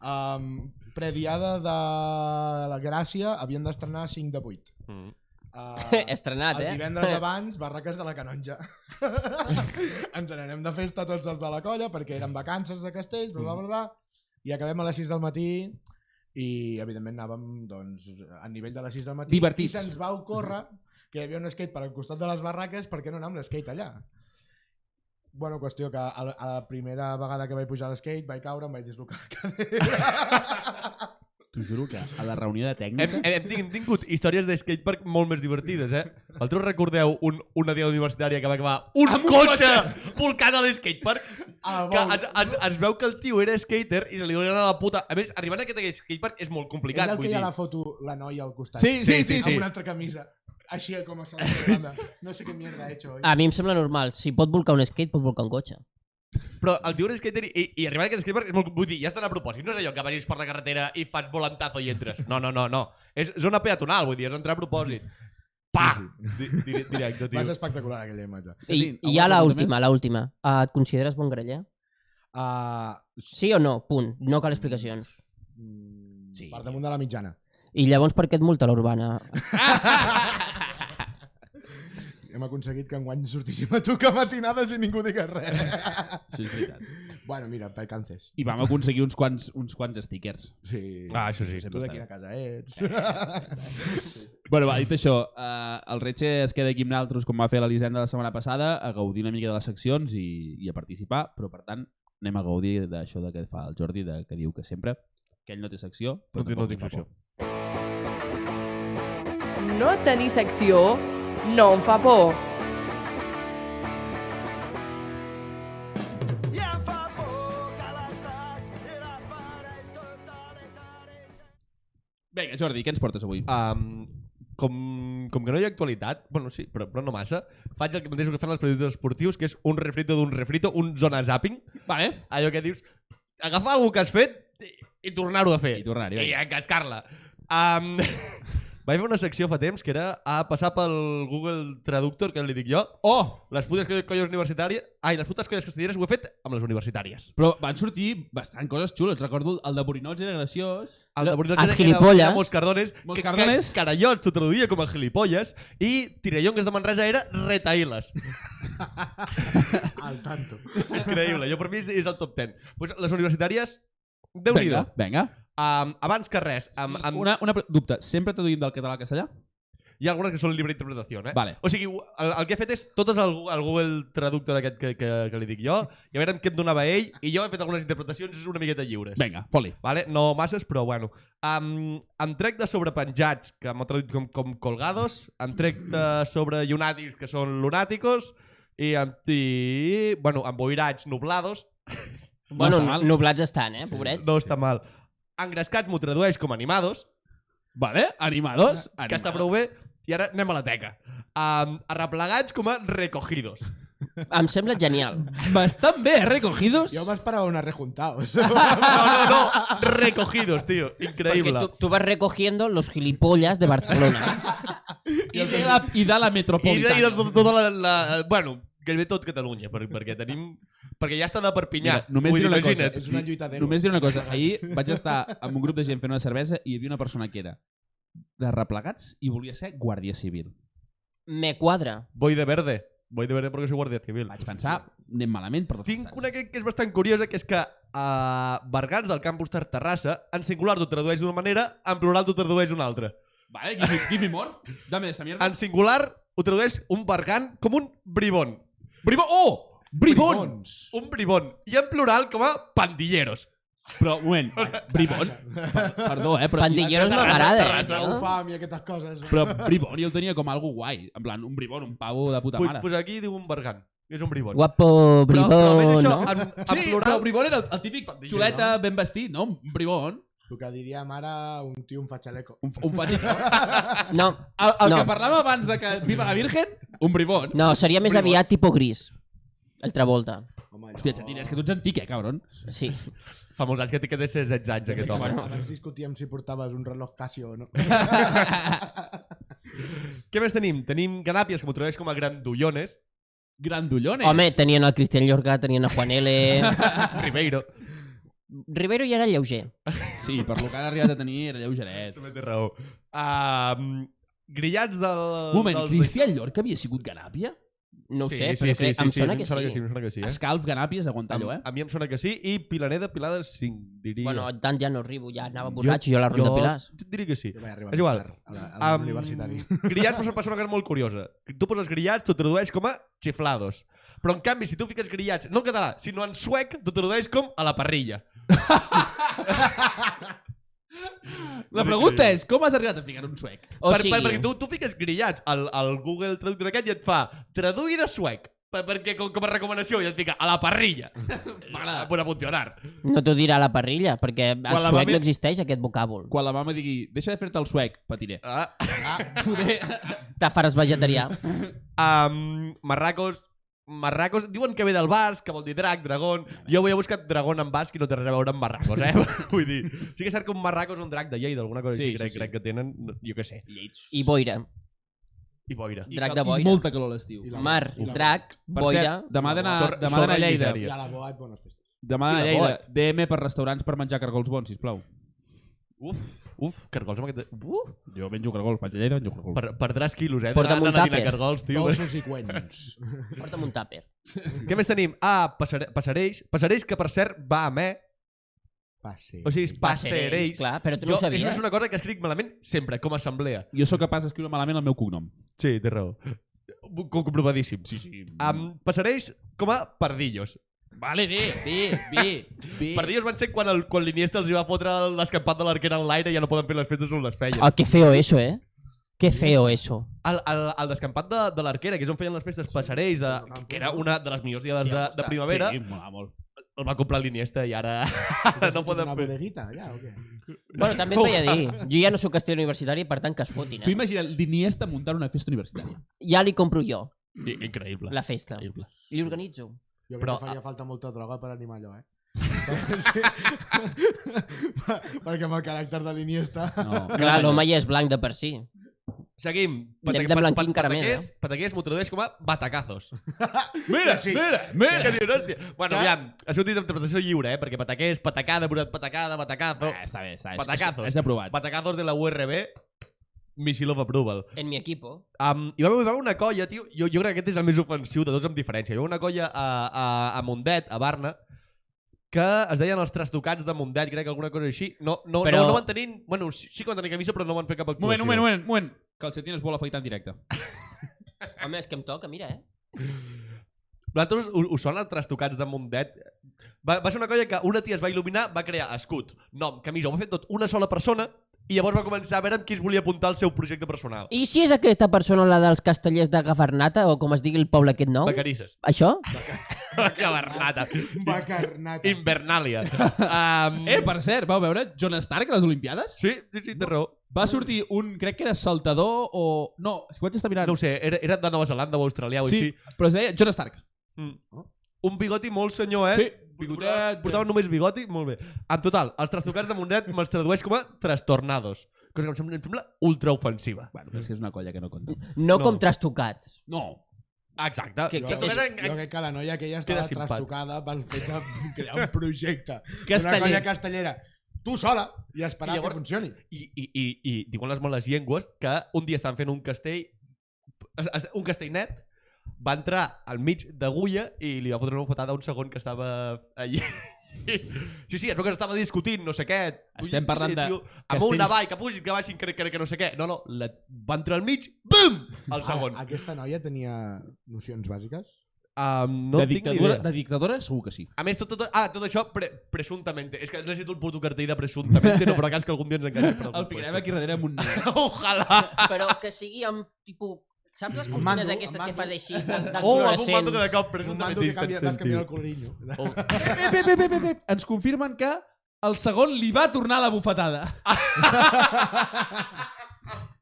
S4: um, prediada de la Gràcia, havien d'estrenar 5 de 8.
S3: Mm.
S4: Uh,
S2: Estrenat, eh?
S4: El divendres abans, barraques de la Canonja. Ens n'anem de festa tots els de la colla perquè eren vacances de castells, bla, bla, bla, bla. I acabem a les 6 del matí i, evidentment, anàvem doncs, a nivell de les 6 del matí.
S1: Divertits.
S4: I se'ns va ocórrer que hi havia un skate per al costat de les barraques perquè no anar amb l'skate allà. Bueno, qüestió que a la, a la primera vegada que vaig pujar a l'skate vaig caure, em vaig dislocar la cadera.
S1: T'ho juro que a la reunió de
S3: Hem,
S1: tècnica...
S3: hem, hem tingut- hem tingut històries de skatepark molt més divertides, eh? Vosaltres recordeu un, una dia universitària que va acabar un
S1: Amb un
S3: cotxe volcant a l'skatepark?
S4: A la
S3: Que
S4: bou.
S3: es, es, es veu que el tio era skater i se li donen a la puta. A més, arribant a aquest skatepark és molt
S4: És
S3: complicat,
S4: el que
S3: vull
S4: hi
S3: dir.
S4: ha la foto, la noia al costat.
S1: Sí, sí, sí.
S4: amb
S1: sí.
S4: una altra camisa. Així com a sol de banda. No sé què mierda he hecho hoy.
S2: A mi em sembla normal. Si pot volcar un skate, pot volcar un cotxe.
S3: Però el tio era skater i, i arribant a aquest skatepark és molt... Vull dir, ja estan a propòsit. No és allò que venís per la carretera i fas volantazo i entres. No, no, no, no. És zona peatonal, vull dir, és entrar a propòsit. Pa! Di, di, directe,
S4: Va
S3: tio.
S4: ser espectacular aquella imatge.
S2: I,
S1: Sí,
S2: i ja
S1: alguna cosa
S2: l'última, l'última. Uh, et consideres bon graller?
S4: Uh,
S2: Sí o no? Punt. No cal explicacions.
S4: sí. Per damunt de la mitjana.
S2: I llavors per què et multa l'urbana?
S4: Hem aconseguit que enguany sortíssim a tocar matinades i ningú digués res.
S1: Sí, és veritat.
S4: bueno, mira, per cances.
S1: I vam aconseguir uns quants, uns quants stickers.
S4: Sí.
S3: Ah, això sí.
S4: tu de quina casa ets? Sí, sí.
S1: Bueno, va, dit això, eh, el Retxe es queda aquí amb naltros, com va fer l'Elisenda la setmana passada, a gaudir una mica de les seccions i, i a participar, però per tant anem a gaudir d'això de que fa el Jordi, de, que diu que sempre que ell no té secció, però
S3: No té-
S1: tampoc
S3: no té
S1: li fa
S3: secció.
S1: por.
S5: No tenir secció no em fa por.
S1: Vinga, Jordi, què ens portes avui? Ah,
S3: Um, com, com que no hi ha actualitat, bueno, sí, però, però no massa, faig el mateix que fan els periodistes esportius, que és un refrito d'un refrito, un zona zapping,
S1: Vale.
S3: allò que dius, agafar alguna que has fet i, i tornar-ho a fer.
S1: I tornar-hi,
S3: I
S1: vinga.
S3: encascar-la. Um, vaig fer una secció fa temps que era a passar pel Google Traductor, que li dic jo,
S1: Oh!
S3: les putes que- colles universitàries... Ai, les putes colles castelleres ho he fet amb les universitàries.
S1: Però van sortir bastant coses xules. Recordo el de Borinots era graciós.
S3: El de Borinots
S2: els
S3: era- era-
S2: gilipolles.
S3: Era Moscardones. que-
S1: Moscardones.
S3: Que, carallots, t'ho traduïa com a gilipolles. I Tirallongues de Manresa era retaïles.
S4: Al tanto.
S3: Increïble. Jo per mi és, és el top 10. Pues les universitàries, déu nhi
S1: Vinga, vinga.
S3: um, abans que res, amb, amb,
S1: Una, una pre- dubte. Sempre traduïm del català al castellà?
S3: hi ha algunes que són llibre d'interpretació. Eh?
S1: Vale.
S3: O sigui, el, el, que he fet és totes el, el Google Traductor d'aquest que, que, que li dic jo, i a veure què em donava ell, i jo he fet algunes interpretacions una miqueta lliures.
S1: Vinga, foli.
S3: Vale? No masses, però bueno. Um, em trec de sobre penjats, que m'ha traduït com, com colgados, em trec de sobre llunàtics, que són lunàticos, i, em, i bueno, emboirats nublados,
S2: Bueno,
S1: està mal.
S2: nublats estan, eh, pobrets.
S3: no està mal. Engrescats m'ho tradueix com animados,
S1: Vale, animados.
S3: que està prou bé, i ara anem a la teca. Um, arreplegats com a recogidos.
S2: Em sembla genial.
S1: Bastant bé, eh, recogidos.
S4: Jo m'esperava una rejuntaos.
S3: No, no, no, recogidos, tío, increíble.
S2: Perquè tu, tu vas recogiendo los gilipollas de Barcelona.
S1: I, de la, I de la
S3: I de, i de
S1: metropolitana.
S3: tot, tota la, la... Bueno, gairebé tot Catalunya, per, perquè tenim... Perquè ja està de Perpinyà.
S1: Mira, només
S3: Vull
S1: diré
S3: dir,
S1: una cosa.
S3: imagina't.
S4: És una lluita d'ero.
S1: Només diré una cosa. Ahir vaig estar amb un grup de gent fent una cervesa i hi havia una persona que era de replegats i volia ser guàrdia civil.
S2: Me quadra.
S3: Voy de verde. Voy de verde perquè soy guàrdia civil.
S1: Vaig pensar, anem malament per tots
S3: Tinc
S1: costats.
S3: una que, que és bastant curiosa, que és que a Bergans del campus Ter Terrassa, en singular t'ho tradueix d'una manera, en plural t'ho tradueix d'una altra.
S1: Vale, give me, give me more. Dame esta mierda.
S3: En singular ho tradueix un Bergan com un bribón.
S1: Bribó! Oh! Bribón!
S4: Bribons.
S3: Un bribón. I en plural com a pandilleros.
S1: Però, un moment, Bribón? Per- Perdó, eh? Però,
S2: Pandilleros no
S3: Terrassa,
S2: m'agrada.
S1: Ah.
S3: Terrassa,
S2: eh, no?
S4: Ufam i aquestes coses.
S1: Però Bribón jo el tenia com algo guai. En plan, un Bribón, un pavo de puta
S3: Pues,
S1: mare.
S3: pues aquí diu un Bergan. És un bribón.
S2: Guapo,
S3: Però, però almenys
S2: bribón,
S3: això,
S2: no?
S3: en, en
S1: Sí,
S3: plural...
S2: ah.
S1: però Bribón era el, el típic
S3: Pandillero,
S1: xuleta ben vestit, no? Un Bribón.
S4: El que diríem ara un tio em un fatxaleco.
S1: Un, un faig...
S2: No,
S1: El, el
S2: no.
S1: que parlàvem abans de que viva la Virgen, un bribón.
S2: No, seria més
S1: Bribón.
S2: aviat tipus gris. El Travolta.
S4: Home,
S1: Hòstia, Xatín, és que tu ets antic, eh, cabron?
S2: Sí.
S3: Fa molts anys que té que té 16 anys, aquest home.
S4: Bueno, abans discutíem si portaves un reloj Casio o no.
S3: Què més tenim? Tenim ganàpies, que m'ho trobes com a grandullones.
S1: Grandullones.
S2: Home, tenien el Cristian Llorca, tenien a Juan L.
S3: Ribeiro.
S2: Rivero ja era lleuger.
S1: Sí, per lo que ha arribat a tenir era lleugeret.
S3: També té raó. Um, grillats del...
S1: Un moment,
S3: dels...
S1: Cristian Llorca havia sigut Ganàpia?
S2: No ho sé, però crec, em sona que
S3: Em sona que sí,
S2: sí.
S3: em sona que sí. Eh?
S1: Escalp, Ganàpia, és aguantar
S3: A,
S1: allò, eh?
S3: a mi em sona que sí. I Pilaneda, Pilada 5, diria.
S2: Bueno, tant ja no arribo, ja anava borratxo jo a la Ronda Pilars.
S3: Jo diria que sí.
S4: Jo vaig arribar
S3: És igual.
S4: més tard a la- a
S3: Am,
S4: l'universitari.
S3: Grillats però em passa una cosa molt curiosa. Tu poses grillats, t'ho tradueix com a xiflados. Però en canvi, si tu fiques grillats, no en català, sinó en suec, t'ho tradueix com a la parrilla.
S1: La pregunta és, com has arribat a ficar un suec?
S2: O
S3: per, per, perquè
S2: sigui,
S3: tu, tu fiques grillats al, al Google Traductor aquest i et fa traduir de suec per, perquè com, com a recomanació i et fica a la parrilla.
S1: M'agrada.
S3: Per a funcionar.
S2: no t'ho dirà la parrilla, perquè
S1: Quan
S2: el
S1: la
S2: suec
S1: mami-
S2: no existeix, aquest vocàbul.
S1: Quan la mama digui, deixa de fer-te el suec, patiré.
S3: Ah.
S1: Poder...
S2: Te faràs vegetarià.
S3: Um, marracos, marracos, diuen que ve del basc, que vol dir drac, dragón. Jo avui he buscat dragón en basc i no té res a veure amb marracos, eh? Vull dir, sí que és cert que un marraco és un drac de Lleida, alguna cosa
S1: Sí,
S3: sí,
S1: sí,
S3: així, crec,
S1: sí.
S3: crec que tenen, no, jo què sé,
S2: I boira.
S3: i boira.
S2: Drac
S1: I
S2: de
S1: cal-
S2: boira.
S1: I molta calor a l'estiu.
S4: I la-
S2: Mar,
S4: i la-
S2: drac,
S1: Per
S2: boira...
S1: cert, demà d'anar
S3: Sorra-
S1: demà d'anar a
S3: sorra i
S1: Lleida.
S3: misèria.
S4: I a la Boat, bones festes.
S1: Demà d'anar a
S3: I la
S1: Lleida.
S3: bot.
S1: DM per restaurants per menjar cargols bons, sisplau.
S3: Uf, uf, cargols amb aquest... de- Uf,
S1: Jo menjo cargols, vaig a Lleida, menjo cargols.
S3: per, perdràs quilos, eh?
S2: Porta'm
S3: d'anar-
S2: un
S3: d'anar a dinar
S2: tàper.
S3: Cargols, tio.
S4: Dolços i cuents.
S2: Porta'm un tàper.
S3: Què més tenim? Ah, passare passareix. Passareix que, per cert, va a me.
S4: Passi.
S3: O sigui,
S2: Passerells,
S3: passereix.
S2: clar, però tu
S3: Jo,
S2: no ho sabies.
S3: això és una cosa que escric malament sempre, com a assemblea.
S1: Jo sóc capaç d'escriure malament el meu cognom.
S3: Sí, té raó. Com- Comprovadíssim. Sí, sí. Um, passareix com a pardillos.
S1: Vale, bé, bé, bé, bé.
S3: Pardillos van ser quan, el, quan l'Iniesta els hi va fotre l'escampat de l'arquera en l'aire i ja no poden fer les festes on les feien.
S2: Ah, que feo eso, eh? Que feo eso.
S3: El, el, el descampat de, de l'arquera, que és on feien les festes passerells, de, que era una de les millors diades de, de primavera,
S1: Sí, mola molt.
S3: el va comprar l'Iniesta i ara, ara no poden
S4: Una
S3: fer.
S4: bodeguita, allà, o què?
S2: Bueno, també et veia dir. Jo ja no sóc castell universitari, per tant que es fotin,
S1: Tu
S2: eh?
S1: imagina l'Iniesta muntant una festa universitària.
S2: Ja li compro jo,
S3: I- Increïble.
S2: la festa.
S3: Increïble.
S2: Li organitzo.
S4: Jo crec
S3: Però,
S4: Però, que faria falta molta droga per animar allò, eh? sí. Per- perquè amb el caràcter de l'Iniesta...
S1: No,
S2: Clar, l'home ja és blanc de per si.
S3: Seguim.
S2: Hem de blanquir encara més, eh?
S3: pataquers, pataquers m'ho tradueix com a batacazos.
S1: Mira,
S4: Sí.
S1: mira, mira!
S3: Que dius, hòstia. Bueno, aviam, això ho dic d'interpretació lliure, eh? Perquè pataquers, patacada, brodat patacada, batacazo.
S1: Ah, està bé, està bé.
S3: Patacazos.
S1: És aprovat.
S3: Batacazos de la URB, Misilov approval.
S2: En mi equipo.
S3: Um, hi, va, hi va haver una colla, tio, jo, jo crec que aquest és el més ofensiu de tots amb diferència. Hi va haver una colla a, a, a Mondet, a Barna, que es deien els trastocats de Mondet, crec que alguna cosa així. No, no,
S2: Però-
S3: però... no, no van tenir... Bueno, sí, sí que van tenir camisa, però no van fer cap actuació.
S1: Moment, moment, moment, moment. Calcetines vol afaitar en directe.
S3: Eh?
S2: Home, és que em toca, mira, eh?
S3: Vosaltres us, us sona els trastocats de Mondet? Va, va ser una colla que una tia es va il·luminar, va crear escut, nom, camisa, ho va fer tot una sola persona i llavors va començar a veure amb qui es volia apuntar al seu projecte personal.
S2: I si és aquesta persona la dels castellers de Gavernata, o com es digui el poble aquest nou?
S3: Vacarisses.
S2: Això?
S3: que bernata.
S4: Bacarnata.
S3: Invernàlia. Um,
S1: Eh, per cert, vau veure John Stark a les Olimpiades?
S3: Sí, sí, sí, té raó.
S1: Va sortir un, crec que era saltador o... No, si vaig estar mirant.
S3: No ho sé, era, era de Nova Zelanda o Australià o
S1: sí,
S3: així.
S1: però es deia John Stark.
S3: Mm. Un bigoti molt senyor, eh?
S1: Sí, bigotet,
S3: Portava- Portava només bigoti, molt bé. En total, els trastocats de Monet me'ls tradueix com a trastornados. Cosa que em sembla, em sembla ultraofensiva.
S1: Bueno, però és que és una colla que no compta.
S2: No,
S3: No.
S2: com trastocats.
S1: No.
S3: Exacte.
S2: Que-
S4: Jo,
S2: que-
S4: crec-
S2: és-
S4: jo crec que la noia aquella
S3: Queda
S4: estava
S3: simpàtic.
S4: trastocada pel fet de crear un projecte. Una
S1: Casteller.
S4: colla castellera. Tu sola i esperar
S3: I
S4: I
S3: llavors-
S4: llavors... que funcioni.
S3: I, i, i, I diuen les males llengües que un dia estan fent un castell, es- es- un castell net, va entrar al mig d'agulla i li va fotre una fotada a un segon que estava allí. Sí, sí, es veu que s'estava discutint, no sé què.
S1: Estem parlant de
S3: tio, Amunt,
S1: castells-
S3: avall, que pugin, que baixin, que, que, que no sé què. No, no, la, va entrar al mig, bum!
S1: Ah,
S3: El segon.
S4: Ara, aquesta noia tenia nocions bàsiques?
S3: Um, no
S1: de,
S3: tinc ni
S1: dictadura,
S3: idea.
S1: de dictadora segur que sí.
S3: A més, tot, tot, ah, tot això pre presuntamente. És que necessito el portocartell de presuntamente, no, però cas que algun dia ens enganxem. per algun
S1: El ficarem
S3: lloc.
S1: aquí darrere amb un nen.
S3: Ojalà!
S2: Però que sigui amb, tipus... Saps les
S4: Amb mando,
S2: cortines aquestes
S4: amb
S2: que
S4: mando.
S2: fas així? dels
S3: Oh, amb un
S2: fluorescents?
S3: mando que de cop
S4: Un
S3: presuntament
S4: mando que canvia, vas canviant el colorinho.
S3: Oh.
S1: Pep, pep, pep, pep, pep. Ens confirmen que el segon li va tornar la bufetada.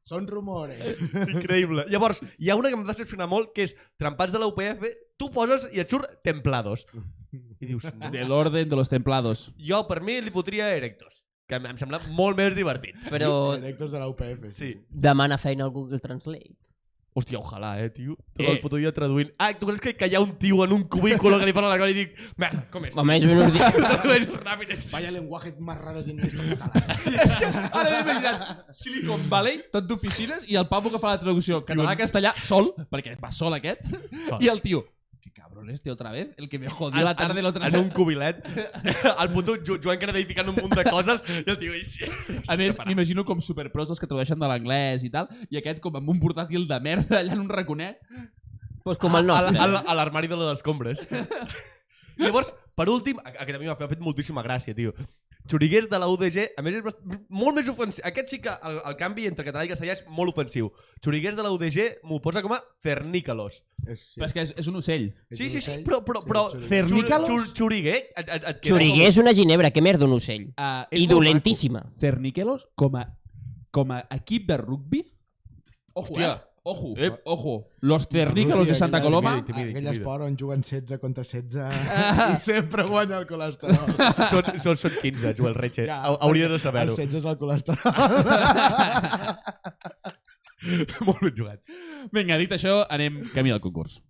S4: Són rumores.
S3: Oh, Increïble. Llavors, hi ha una que em va decepcionar molt, que és trempats de la UPF, tu poses i et surt templados. I dius, no.
S1: De l'orden de los templados.
S3: jo per mi li fotria erectos, que em em sembla molt més divertit.
S2: Però
S4: Directors de la UPF.
S3: Sí.
S2: demana feina al Google Translate.
S3: Hòstia, ojalà, eh, tio. Tot
S1: Eh.
S3: el puto dia traduint. Ah, tu creus que, que hi ha un tio en un cubículo que li parla la cosa i dic, merda, com és?
S2: Home, és un ordi...
S3: Tradueix ràpid. eh.
S4: Vaya lenguaje más raro tiene esto en catalán.
S1: és que ara m'he imaginat Silicon Valley, tot d'oficines, i el papo que fa la traducció català-castellà sol, perquè va sol aquest,
S3: Sol.
S1: i el tio que cabrón este otra vez, el que me jodió la tarde la otra
S3: en un
S1: vez.
S3: cubilet, el puto Jo- Joan Canadell ficant un munt de coses i el tio...
S1: A més, m'imagino com superpros els que tradueixen de l'anglès i tal, i aquest com amb un portàtil de merda allà en un raconet.
S2: Pues com el
S3: A-
S2: nostre.
S3: A a l'armari de les escombres. Llavors, per últim, a- aquest a mi m'ha fet moltíssima gràcia, tio. Xuriguers de la UDG, a més és bast- molt més ofensiu. Aquest sí que el, el canvi entre català i castellà és molt ofensiu. Xuriguers de la UDG m'ho posa com a cernícalos.
S4: És, sí.
S1: Però és que és, és un ocell.
S4: És
S3: Sí,
S4: un
S3: sí, sí,
S4: ocell.
S3: però... però,
S4: Sí,
S3: però
S4: és un
S1: Fer-
S4: ocell.
S1: Cernícalos?
S3: xur- xuriguer... Et, et, et queda
S2: Xuriguer és una ginebra, que merda un ocell.
S1: Uh,
S2: I dolentíssima.
S1: Cerniquelos com a, com a equip de rugby? Ojo,
S3: Hòstia.
S1: eh? Ojo,
S3: Ep.
S1: ojo. Los Cerníquelos de Santa Coloma
S3: Intimidi, Ah.
S4: Aquell
S3: intimidi.
S4: esport on juguen 16 contra 16 i sempre guanya el colesterol.
S3: com- Són, són, són 15, Joel Retxe. Ja, Hauria de
S4: El
S3: saber-ho.
S4: 16 és el colesterol.
S3: molt ben jugat.
S1: Vinga, dit això, anem camí del concurs.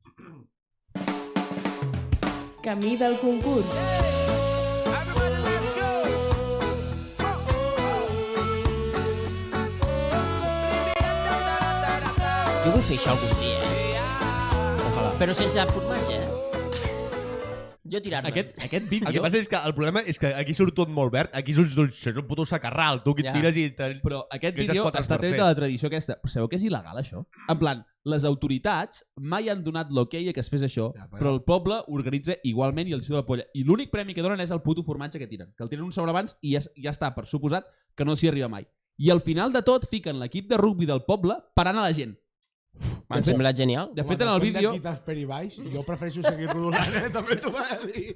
S5: Camí del concurs.
S2: Jo vull fer això algun dia, eh?
S3: Ojalà.
S2: Però sense formatge, eh? Jo tirar-me.
S1: Aquest, aquest vídeo...
S3: El que passa és que el problema és que aquí surt tot molt verd, aquí és un, és un puto sacarral, tu que
S2: Ja.
S3: ja. tires i... Te...
S1: Però aquest
S3: Aquestes
S1: vídeo
S3: quatre
S1: està tret de
S3: esmercers.
S1: la tradició aquesta. Però sabeu que és il·legal, això? En plan, les autoritats mai han donat l'hoquei a que es fes això,
S4: Ja, però-
S1: però el poble organitza igualment i el xut de la polla. I l'únic premi que donen és el puto formatge que tiren. Que el tiren un sobre abans i ja, ja està, per suposat, que no s'hi arriba mai. I al final de tot fiquen l'equip de rugbi del poble parant a la gent.
S2: M'ha semblat genial.
S1: De fet, en el vídeo...
S4: Qui t'has per i baix, jo prefereixo seguir-lo rolant, eh? també t'ho va dir.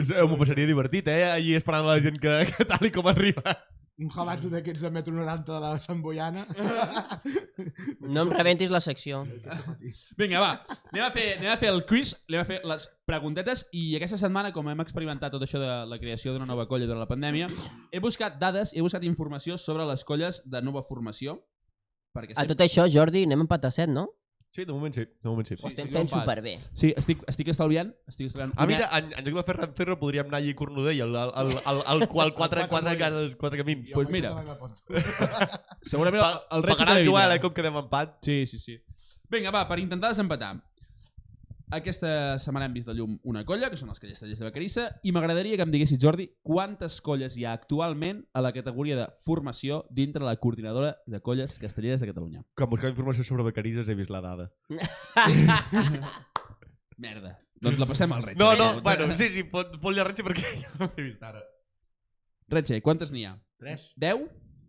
S3: Eh, M'ho passaria divertit, eh? Allí esperant la gent que, que tal i com arriba.
S4: Un jabato d'aquests de metro 90 de la Sant Boiana.
S2: No em rebentis la secció.
S1: Vinga, va, anem a, fer, anem a fer el quiz, anem a fer les preguntetes i aquesta setmana, com hem experimentat tot això de la creació d'una nova colla durant la pandèmia, he buscat dades, he buscat informació sobre les colles de nova formació. Perquè
S2: A tot això, Jordi, anem a empatar set, no?
S3: Sí, de moment sí. De moment sí.
S2: Ho estem
S1: sí,
S2: fent
S1: compat.
S2: superbé.
S1: Sí, estic, estic estalviant. Estic estalviant.
S3: Ah, mira, en, en lloc de fer Rancero podríem anar allí a Cornuder, al, al, al, al, al qual quatre,
S4: quatre
S3: quatre,
S4: molles.
S3: quatre, quatre camins.
S1: Pues mira. segurament el,
S3: Pa-
S1: el reig
S3: Pagarà
S1: de
S3: el
S1: vida.
S3: Joel, eh, com quedem empat.
S1: Sí, sí, sí. Vinga, va, per intentar desempatar. Aquesta setmana hem vist de llum una colla, que són els castellers de Vacarissa, i m'agradaria que em diguessis, Jordi, quantes colles hi ha actualment a la categoria de formació dintre la coordinadora de colles castelleres de Catalunya.
S3: Quan buscava informació sobre becarises he vist la dada.
S1: Merda. Doncs la passem al Retxe.
S3: No, no, bueno, sí, sí, pot, pot llarrar-se perquè jo no l'he vist ara.
S1: Retxe, quantes n'hi ha?
S4: Tres.
S1: 10?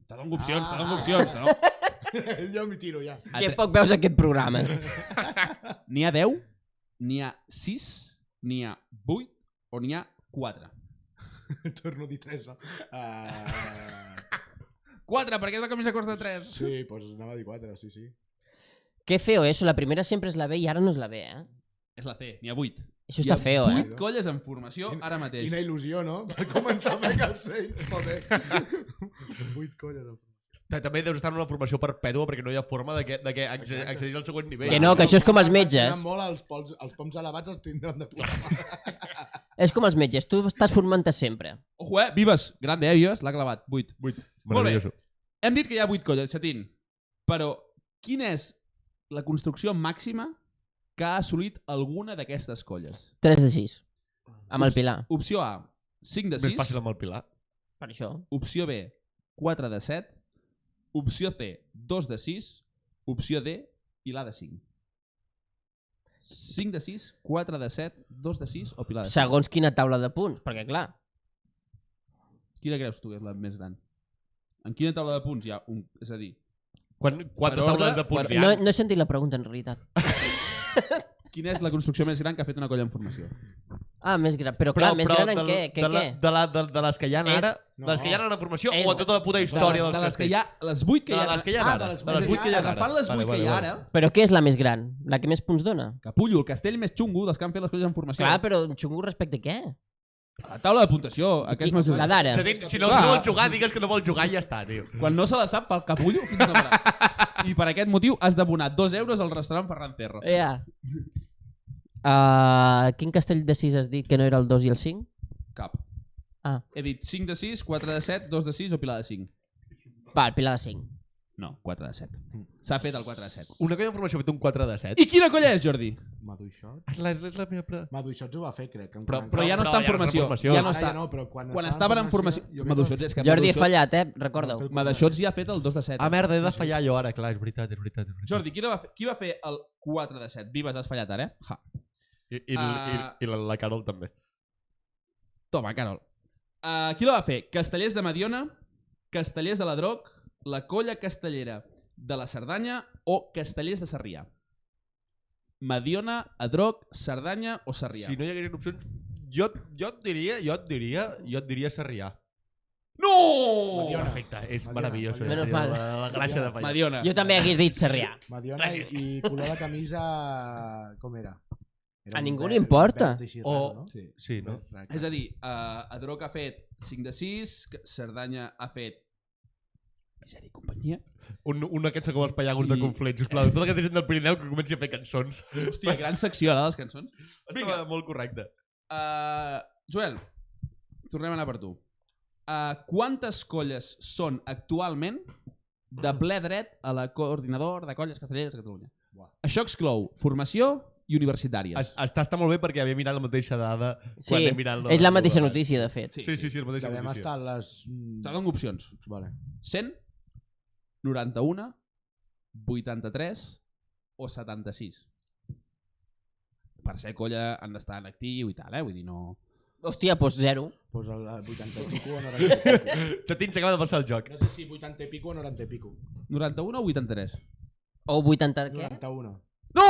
S1: Te dono opcions, te dono
S4: Ah.
S1: opcions. Te dono...
S4: jo m'hi tiro ja.
S1: A
S2: Que
S1: tre-
S2: poc veus aquest programa.
S1: N'hi ha 10? N'hi ha 6? N'hi ha 8? O n'hi ha 4?
S4: Torno a dir tres, no? Uh...
S1: 4, perquè és la camisa costa 3.
S4: Sí, doncs pues anava a dir quatre, sí, sí.
S2: Que feo, eso. La primera sempre és la B i ara no és la B, eh?
S1: És la C, n'hi ha 8.
S2: Això està feo, eh?
S1: Vuit colles en formació
S4: Quin-
S1: ara mateix.
S4: Quina il·lusió, no? Per començar a fer cartells, joder. Vuit colles.
S3: Ta- També deus estar en una formació perpètua perquè no hi ha forma de que, de que acce-
S4: Exacte.
S3: accedir al següent nivell.
S2: Que no, que això és com els metges.
S4: Tenen molt, els pols, els poms elevats els tindran de puta.
S2: És com els metges, tu estàs formant-te sempre.
S1: Ojo, eh? Vives. Grande, eh, Vives? L'ha clavat. 8.
S3: Vuit.
S1: Molt bé.
S3: Meravelloso.
S1: Hem dit que hi ha 8 colles, Xatín. Però quina és la construcció màxima que ha assolit alguna d'aquestes colles?
S2: 3 de 6.
S4: Ah.
S2: Amb el Pilar,
S1: Opció A, 5 de
S3: Més
S1: 6.
S3: fàcil amb el Pilar.
S2: per això.
S1: Opció B, 4 de 7. Opció C, 2 de 6. Opció D i l'A de 5. 5 de 6, 4 de 7, 2 de 6 o Pilar de 6?
S2: Segons quina taula de punts, perquè clar,
S1: Quina creus tu que és la més gran? En quina taula de punts hi ha un... És a dir,
S3: Quan, quantes
S1: Per ordre,
S3: taules de punts
S1: per-
S3: hi ha?
S2: no, no he sentit la pregunta en realitat.
S1: Quina és la construcció més gran que ha fet una colla en formació?
S2: Ah, més gran, però clar, més gran en què?
S3: de,
S2: Què,
S3: la,
S2: què?
S3: de, la, de, de les que hi ha
S2: És-
S3: ara, de les que hi ha
S4: No.
S3: ara en formació
S2: És-
S3: o de tota la puta història
S1: de les, de les que
S3: castells?
S1: hi ha, les 8 que hi
S3: de
S1: ha,
S3: les que hi ha
S4: Ah,
S3: ara.
S4: de les
S3: de les
S4: vuit
S3: 8 que hi ha ara.
S1: agafant les 8
S3: Vale,
S1: que
S3: vale,
S1: hi ha
S3: vale.
S1: ara,
S2: Però què és la més gran? La que més punts dona?
S1: capullo, el castell més xungo dels que han fet les colles en formació.
S2: Clar, però xungo respecte a què?
S1: A la taula de puntuació,
S2: Qui,
S1: aquest més...
S2: la d'ara.
S3: És a dir, si no,
S1: Clar.
S3: no vols jugar, digues que no vols jugar i ja està, tio.
S1: Quan no se la sap, fa el capullo fins a parar. I per aquest motiu has d'abonar 2 euros al restaurant Ferran Cerro.
S2: Ja. Uh, quin castell de 6 has dit que no era el 2 i el 5?
S1: Cap.
S2: Ah.
S1: He dit 5 de 6, 4 de 7, 2 de 6 o Pilar de 5.
S2: Va, el Pilar de 5.
S1: No, 4 de 7. S'ha fet el 4 de 7.
S3: Una colla d'informació ha fet un 4 de 7.
S1: I quina colla és, Jordi?
S4: Maduixot?
S3: Ah, És la, és la meva... pre-
S4: Maduixots ho va fer, crec. que en
S3: Però-
S4: quaranta-
S1: Però ja no està
S3: Però ja no està en
S1: en formació.
S3: formació.
S1: Ja no
S4: Ara
S1: està.
S4: ja no, però quan,
S1: Quan estaven en formació...
S4: jo crec que-
S1: Maduixots, és que
S2: Jordi, he
S1: Maduixots-
S2: fallat, eh? Recorda-ho.
S1: Maduixots ja ha fet el 2 de 7.
S3: Ah, merda, he de fallar jo ara, clar, és veritat, és veritat. És veritat.
S1: Jordi, qui, no va fer, qui va fer el 4 de 7? Vives, has fallat ara, eh? Ja.
S3: I, i,
S1: Ah.
S3: i, i la, la Carol també.
S1: Toma, Carol. Uh, qui la va fer? Castellers de Mediona, Castellers de la Droc, la Colla Castellera de la Cerdanya o Castellers de Sarrià? Mediona, Adroc, Cerdanya o Sarrià?
S3: Si no hi haguessin opcions, jo, jo et diria, jo et diria, jo et diria Sarrià.
S1: no!
S4: Mediona.
S3: Perfecte, és
S4: Mediona,
S3: meravellós.
S4: Mediona.
S3: eh,
S2: Menos mal.
S3: La, la gràcia de fallar.
S1: Mediona.
S2: Jo també hagués dit Sarrià.
S4: Madiona i, i color de camisa... Com era? era
S2: A
S4: un
S2: ningú
S4: verd-
S2: li importa.
S4: verd així
S3: O-
S4: raro, no?
S1: Sí.
S3: Sí, no?
S4: Verd
S1: És a dir, uh, Adroc ha fet 5 de 6, que Cerdanya ha fet... Misèria i companyia.
S3: Un, un d'aquests que vols fallar gust de
S1: I-
S3: conflent, sisplau. Tota aquesta gent del Pirineu que comenci a fer cançons.
S1: Hòstia, gran secció, la de les cançons.
S3: Estava molt correcte.
S1: Uh, Joel, tornem a anar per tu. Uh, quantes colles són actualment de ple dret a la coordinador de colles castelleres de Catalunya?
S4: Buah.
S1: Això exclou formació i universitàries.
S3: Es- Està, està molt bé perquè havia mirat la mateixa dada quan
S2: Sí,
S3: he mirat
S2: és la mateixa notícia, de fet.
S3: Sí, sí, sí, la mateixa
S4: Devem
S3: notícia.
S4: estar a les... mm,
S1: Te dono opcions.
S4: Vale.
S1: 100, 91, 83 o 76. Per ser colla han d'estar en actiu i tal, eh? Vull dir, no...
S2: Hòstia, doncs zero.
S4: Pues el 80 i pico o 90 i pico.
S3: Xatín s'acaba de passar el joc.
S4: No sé si 80 i pico o 90 i pico.
S1: 91 o 83?
S2: O 80... Què?
S4: 91.
S1: No!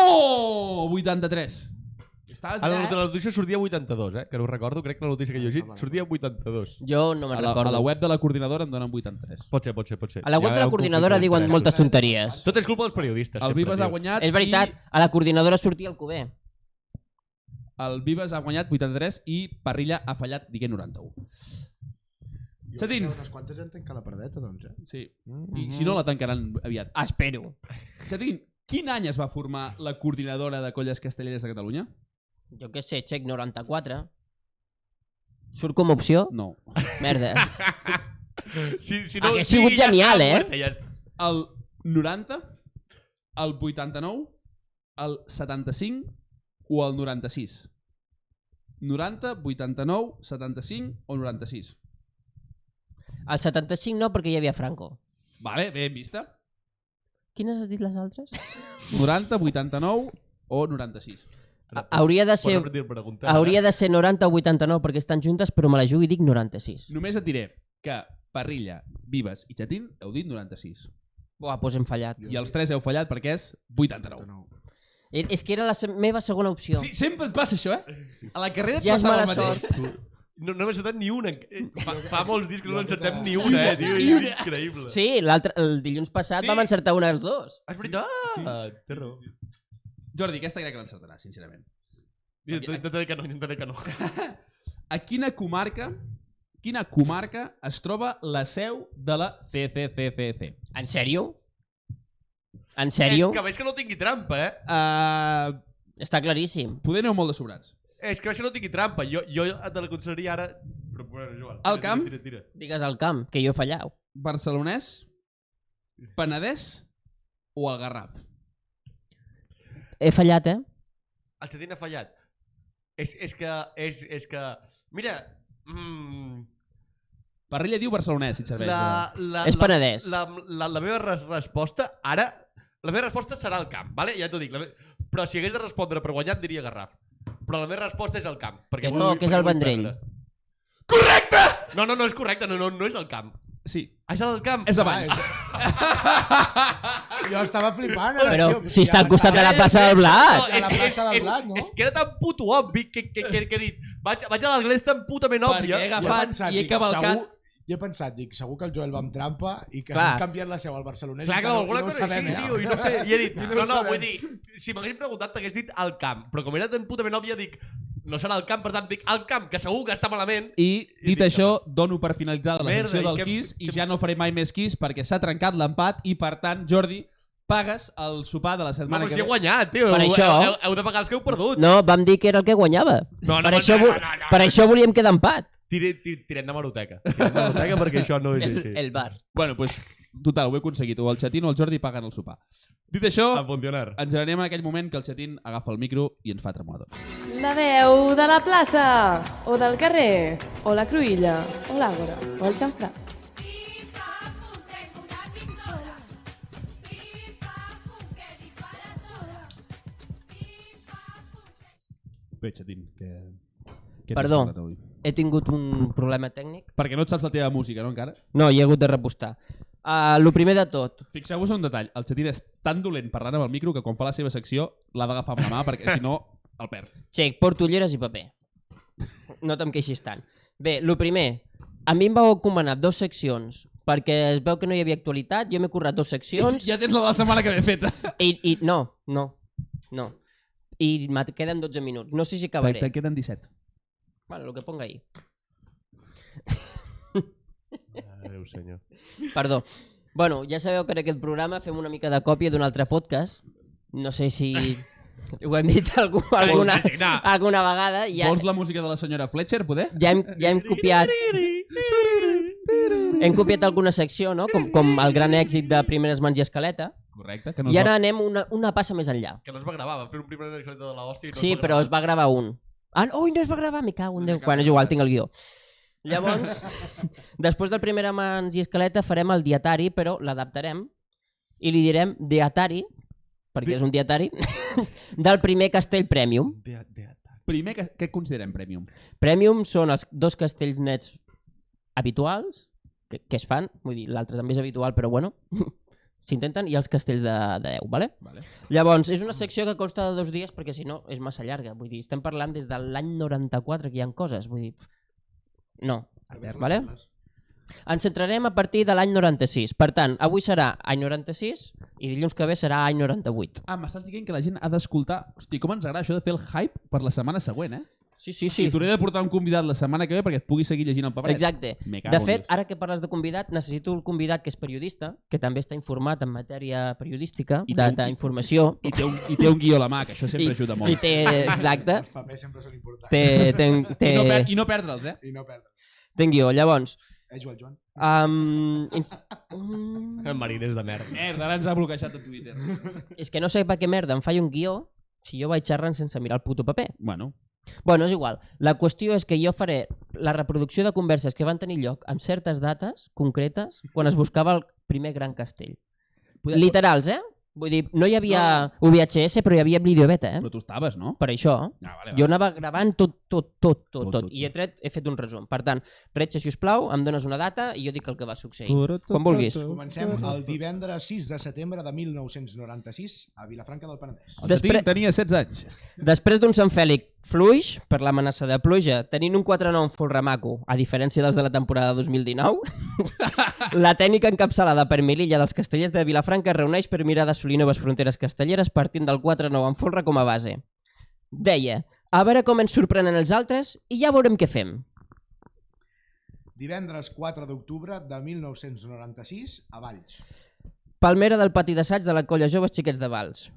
S1: 83. Estàs
S3: A la,
S1: llarg.
S3: de la notícia sortia 82, eh? Que no ho recordo, crec que la notícia que he llegit sortia 82.
S2: Jo no me'n
S1: a la,
S2: recordo.
S1: a la web de la coordinadora em donen 83.
S3: Pot ser, pot ser, pot ser.
S2: a la web
S3: Ja
S2: de la
S3: veu
S2: coordinadora
S3: com
S2: diuen
S3: conflicte
S2: moltes tonteries.
S3: d'interessos. Tot és culpa dels periodistes,
S1: El
S3: sempre,
S1: Vives ha
S3: tio.
S1: guanyat
S2: És veritat, a la coordinadora sortia el cuber.
S1: i el Vives ha guanyat 83 i Parrilla ha fallat, digué, 91.
S4: Jo
S1: Chatín.
S4: crec que Unes quantes en tancar la perdeta, doncs, eh?
S1: Sí. I si no, la tancaran aviat.
S2: Ah. Espero.
S1: Chatín, quin any es va formar la coordinadora de colles castelleres de Catalunya?
S2: Jo què sé, xec 94. Surt com a opció?
S1: No.
S2: Merda.
S3: Si, si no,
S2: Hauria
S3: sí,
S2: sigut
S3: ja
S2: genial, eh?
S3: està, muerta, Ja... està.
S1: El 90, el 89, el 75 o el 96? 90, 89, 75 o 96?
S2: El 75 no, perquè hi havia Franco.
S1: Vale, ben vista.
S2: Quines has dit les altres?
S1: 90, 89 o 96?
S2: Ha- Hauria de
S3: Pots
S2: ser,
S3: repetir la pregunta,
S2: hauria
S3: eh?
S2: de ser 90 o 89 perquè estan juntes, però me la jugo i dic 96.
S1: Només et diré que Parrilla, Vives i Chatín heu dit 96.
S2: Buah, doncs hem fallat.
S1: I els tres heu fallat perquè és 89.
S2: Eh, És que era la se meva segona opció.
S1: Sí, sempre et passa això, eh? A la carrera et
S2: Ja és
S1: passava el
S2: mala
S1: mateix.
S2: sort.
S3: No, no hem encertat ni una. Eh, Fa, fa molts discs que no
S4: Jo crec que-
S3: encertem ni una, eh, tio. És increïble.
S2: Sí, l'altre- el dilluns passat
S3: Sí.
S2: sí. vam encertar una dels dos.
S3: És veritat. Sí, té raó.
S1: Jordi, aquesta crec que l'encertarà, sincerament.
S3: Intentaré que no, intentaré que no.
S1: A quina comarca quina comarca es troba la seu de la CCCCC?
S2: En sèrio? En
S3: És
S2: sèrio?
S3: que veig que no tingui trampa, eh?
S1: Uh,
S2: Està claríssim.
S1: poder aneu molt de sobrats.
S3: És que veig que no tingui trampa. Jo, jo te la consideraria ara... Però, bueno, Joan,
S1: Al camp?
S3: Tira, tira, tira.
S2: Digues al camp, que jo he fallat.
S1: Barcelonès, Penedès o el Garraf?
S2: He fallat, eh?
S3: El Chatín ha fallat. És, és que... És, és que... Mira... Mm,
S1: Parrilla diu barcelonès, si et serveix.
S3: la, la,
S2: És
S3: la-
S2: Penedès.
S3: La, la, la meva res resposta ara... La meva resposta serà el camp, vale? ja t'ho dic. La me... Però si hagués de respondre per guanyar, et diria Garraf. Però la meva resposta és el camp. Perquè
S2: Que
S3: vull-
S2: no, que és
S3: perquè
S2: el
S3: vull
S2: Vendrell.
S3: perdre. Correcte! No, no, no és correcte, no, no, no és el camp.
S1: Sí,
S3: Ah, és el camp.
S1: és abans.
S4: Ah, Jo estava flipant, ara,
S2: Però
S4: tio.
S2: si està al costat de la plaça del Blat.
S4: A la plaça del
S3: és,
S4: Blat, no?
S3: És que era tan puto obvi que, que, que, que he dit... Vaig, vaig a l'anglès tan putament
S1: Perquè he
S3: òbvia.
S4: Jo he
S1: agafat
S4: pensat,
S1: i he
S4: dic,
S1: cavalcat...
S4: segur- Jo he pensat, dic, segur que el Joel va amb trampa i que
S2: Clar.
S4: han canviat la seu al barcelonès.
S3: Clar,
S4: i
S3: que
S4: no-
S3: alguna
S4: no ho
S3: cosa així,
S4: sabem,
S3: tio,
S4: eh?
S3: i no sé, i he dit,
S4: I
S3: no,
S4: no
S3: no,
S4: ho sabem.
S3: vull dir, si m'hagués preguntat t'hagués dit al camp, però com era tan putament òbvia, dic, no serà el camp, per tant, dic al camp, que segur que està malament.
S1: I, dit
S3: I dic
S1: això, dono per finalitzada la
S3: Merda,
S1: secció
S3: i
S1: del
S3: què-
S1: Kiss i
S3: què-
S1: ja no faré mai més Kiss perquè s'ha trencat l'empat i, per tant, Jordi, pagues el sopar de la
S3: No,
S1: setmana
S3: però
S1: que
S3: si he
S1: ve.
S3: guanyat, tio,
S2: Per
S3: heu,
S2: això-
S3: heu, heu, de pagar els que heu perdut.
S2: No, vam dir que era el que guanyava.
S3: No, no,
S2: per,
S3: no,
S2: això,
S3: no,
S2: vo-
S3: no, no, no.
S2: per això volíem quedar empat.
S3: Tire, tire, tirem de maroteca. Tirem de maroteca perquè això no és
S2: El,
S3: així.
S2: el bar.
S1: Bueno, doncs, total, ho he aconseguit. O el Chatín o el Jordi paguen el sopar. Dit això,
S3: A funcionar.
S1: ens n'anem en aquell moment que el Chatín agafa el micro i ens fa tremolar tots.
S5: La veu de la plaça, o del carrer, o la cruïlla, o l'àgora, o el xamfrà.
S1: Bé, Chatín, que... que
S2: Perdó.
S1: t'has portat avui?
S2: He tingut un problema tècnic.
S1: Perquè no et saps la teva música, no, encara?
S2: No, hi he hagut de repostar. Uh, lo primer de tot,
S1: Fixeu-vos en un detall. El Chatín és tan dolent parlant amb el micro que quan fa la seva secció l'ha d'agafar amb la mà perquè, si no, el perd.
S2: Xec, porto ulleres i paper. No te'n queixis tant. Bé, el primer, a mi em vau encomanar dues seccions perquè es veu que no hi havia actualitat, jo m'he currat dues seccions
S1: Ja tens la de la setmana que ve feta.
S2: i, i no, no, no. I me queden 12 minuts. No sé si acabaré.
S1: Te'n queden 17.
S2: Bueno, lo que ponga ahí.
S3: Adéu, senyor.
S2: Perdó. Bueno, ja sabeu que en aquest programa fem una mica de còpia d'un altre podcast. No sé si ho hem dit algú, alguna,
S3: assassinar.
S2: alguna vegada.
S1: Ja.
S2: Ja,
S1: Vols la música de la senyora Fletcher, poder?
S2: ja, hem, ja hem copiat... Hem copiat alguna secció, no? Com, com el gran èxit de Primeres Mans i Escaleta.
S1: Correcte, que no
S2: I ara anem una, una passa més enllà.
S3: Que no es va gravar, va fer un primer anècdota de l'hòstia i no
S2: Sí,
S3: es va
S2: però
S3: gravar.
S2: es va gravar un. Ah, no, ui, no es va gravar, me cago en Déu. Bueno, és igual, tinc el guió. Llavors, després del Primera Mans i Escaleta farem el dietari, però l'adaptarem i li direm dietari, perquè és un dietari, del primer castell Premium.
S1: Primer, que, què considerem premium?
S2: Premium són els dos castells nets habituals que, que es fan, vull dir, l'altre també és habitual, però bueno, S'intenten i els castells de, de 10, vale?
S1: Vale.
S2: Llavors, és una secció que consta de dos dies perquè si no és massa llarga. Vull dir, estem parlant des de l'any 94 que hi ha coses. Vull dir, pf, no. Vale? Ens centrarem a partir de l'any 96. Per tant, avui serà any 96 i dilluns que ve serà any 98.
S1: Ah, m'estàs dient que la gent ha d'escoltar... Hosti, com ens agrada això de fer el hype per la setmana següent, eh?
S2: Sí, sí,
S1: Sí.
S2: sí.
S1: I t'hauré de portar un convidat la setmana que ve perquè et pugui seguir llegint el paperet.
S2: Exacte.
S1: Me cago
S2: De
S1: en
S2: fet,
S1: Déu.
S2: ara que parles de convidat, necessito un convidat que és periodista, que també està informat en matèria periodística,
S1: I té un-
S2: d'informació.
S1: I té, un, I té un guió a la mà, que això sempre ajuda molt.
S2: I té, exacte,
S4: Els papers sempre són importants.
S2: té, té, té,
S1: I, no per, I no perdre'ls, eh?
S4: I no perdre.
S2: té un guió. Llavors,
S4: Eh, Joel Joan?
S2: um, in... mm,
S3: Mariners de merda.
S1: Merda, ara ens ha bloquejat a Twitter.
S2: és que no sé per què merda em falla un guió si jo vaig xerrant sense mirar el puto paper.
S1: bueno,
S2: Bueno, és igual. La qüestió és que jo faré la reproducció de converses que van tenir lloc amb certes dates concretes quan es buscava el primer gran castell.
S1: Podem-
S2: Literals, eh? Vull dir, no hi havia VHS, però hi havia videobeta, eh?
S1: però tu estaves, no?
S2: Per això,
S1: Ah, vale,
S2: jo anava gravant tot, tot, tot, tot,
S1: Tot,
S2: tot.
S1: tot,
S2: I he
S1: tot.
S2: tret, he fet un resum. Per tant, Retxa, si us plau, em dones una data i jo dic el que va succeir. Quan vulguis.
S4: Comencem el divendres 6 de setembre de 1996 a Vilafranca del Penedès.
S1: El Després...
S2: Després-
S1: tenia 16 anys.
S2: Després d'un Sant Fèlix fluix per l'amenaça de pluja, tenint un 4-9 full remaco, a diferència dels de la temporada 2019, la tècnica encapçalada per Mililla dels castellers de Vilafranca es reuneix per mirar d'assolir noves fronteres castelleres partint del 4-9 en folre com a base. Deia, a veure com ens sorprenen els altres i ja veurem què fem.
S4: Divendres 4 d'octubre de 1996 a Valls.
S2: Palmera del pati d'assaig de la colla Joves Xiquets de Vals.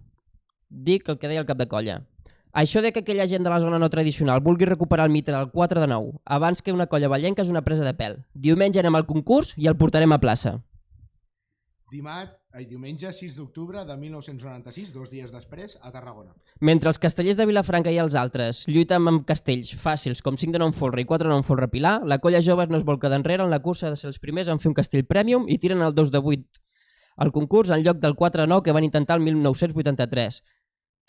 S2: Dic el que deia el cap de colla. Això de que aquella gent de la zona no tradicional vulgui recuperar el mite del 4 de 9 abans que una colla ballenca és una presa de pèl. Diumenge anem al concurs i el portarem a plaça.
S4: Dimat, ai, diumenge 6 d'octubre de 1996, dos dies després, a Tarragona.
S2: Mentre els castellers de Vilafranca i els altres lluiten amb castells fàcils com 5 de 9 folre i 4 de 9 folre pilar, la colla joves no es vol quedar enrere en la cursa de ser els primers en fer un castell prèmium i tiren el 2 de 8 al concurs en lloc del 4 de 9 que van intentar el 1983.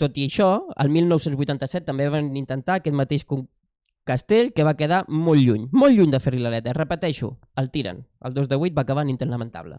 S2: Tot i això, el 1987 també van intentar aquest mateix con- castell que va quedar molt lluny, molt lluny de fer-li l'aleta. Repeteixo, el tiren. El 2 de 8 va acabar en intent lamentable.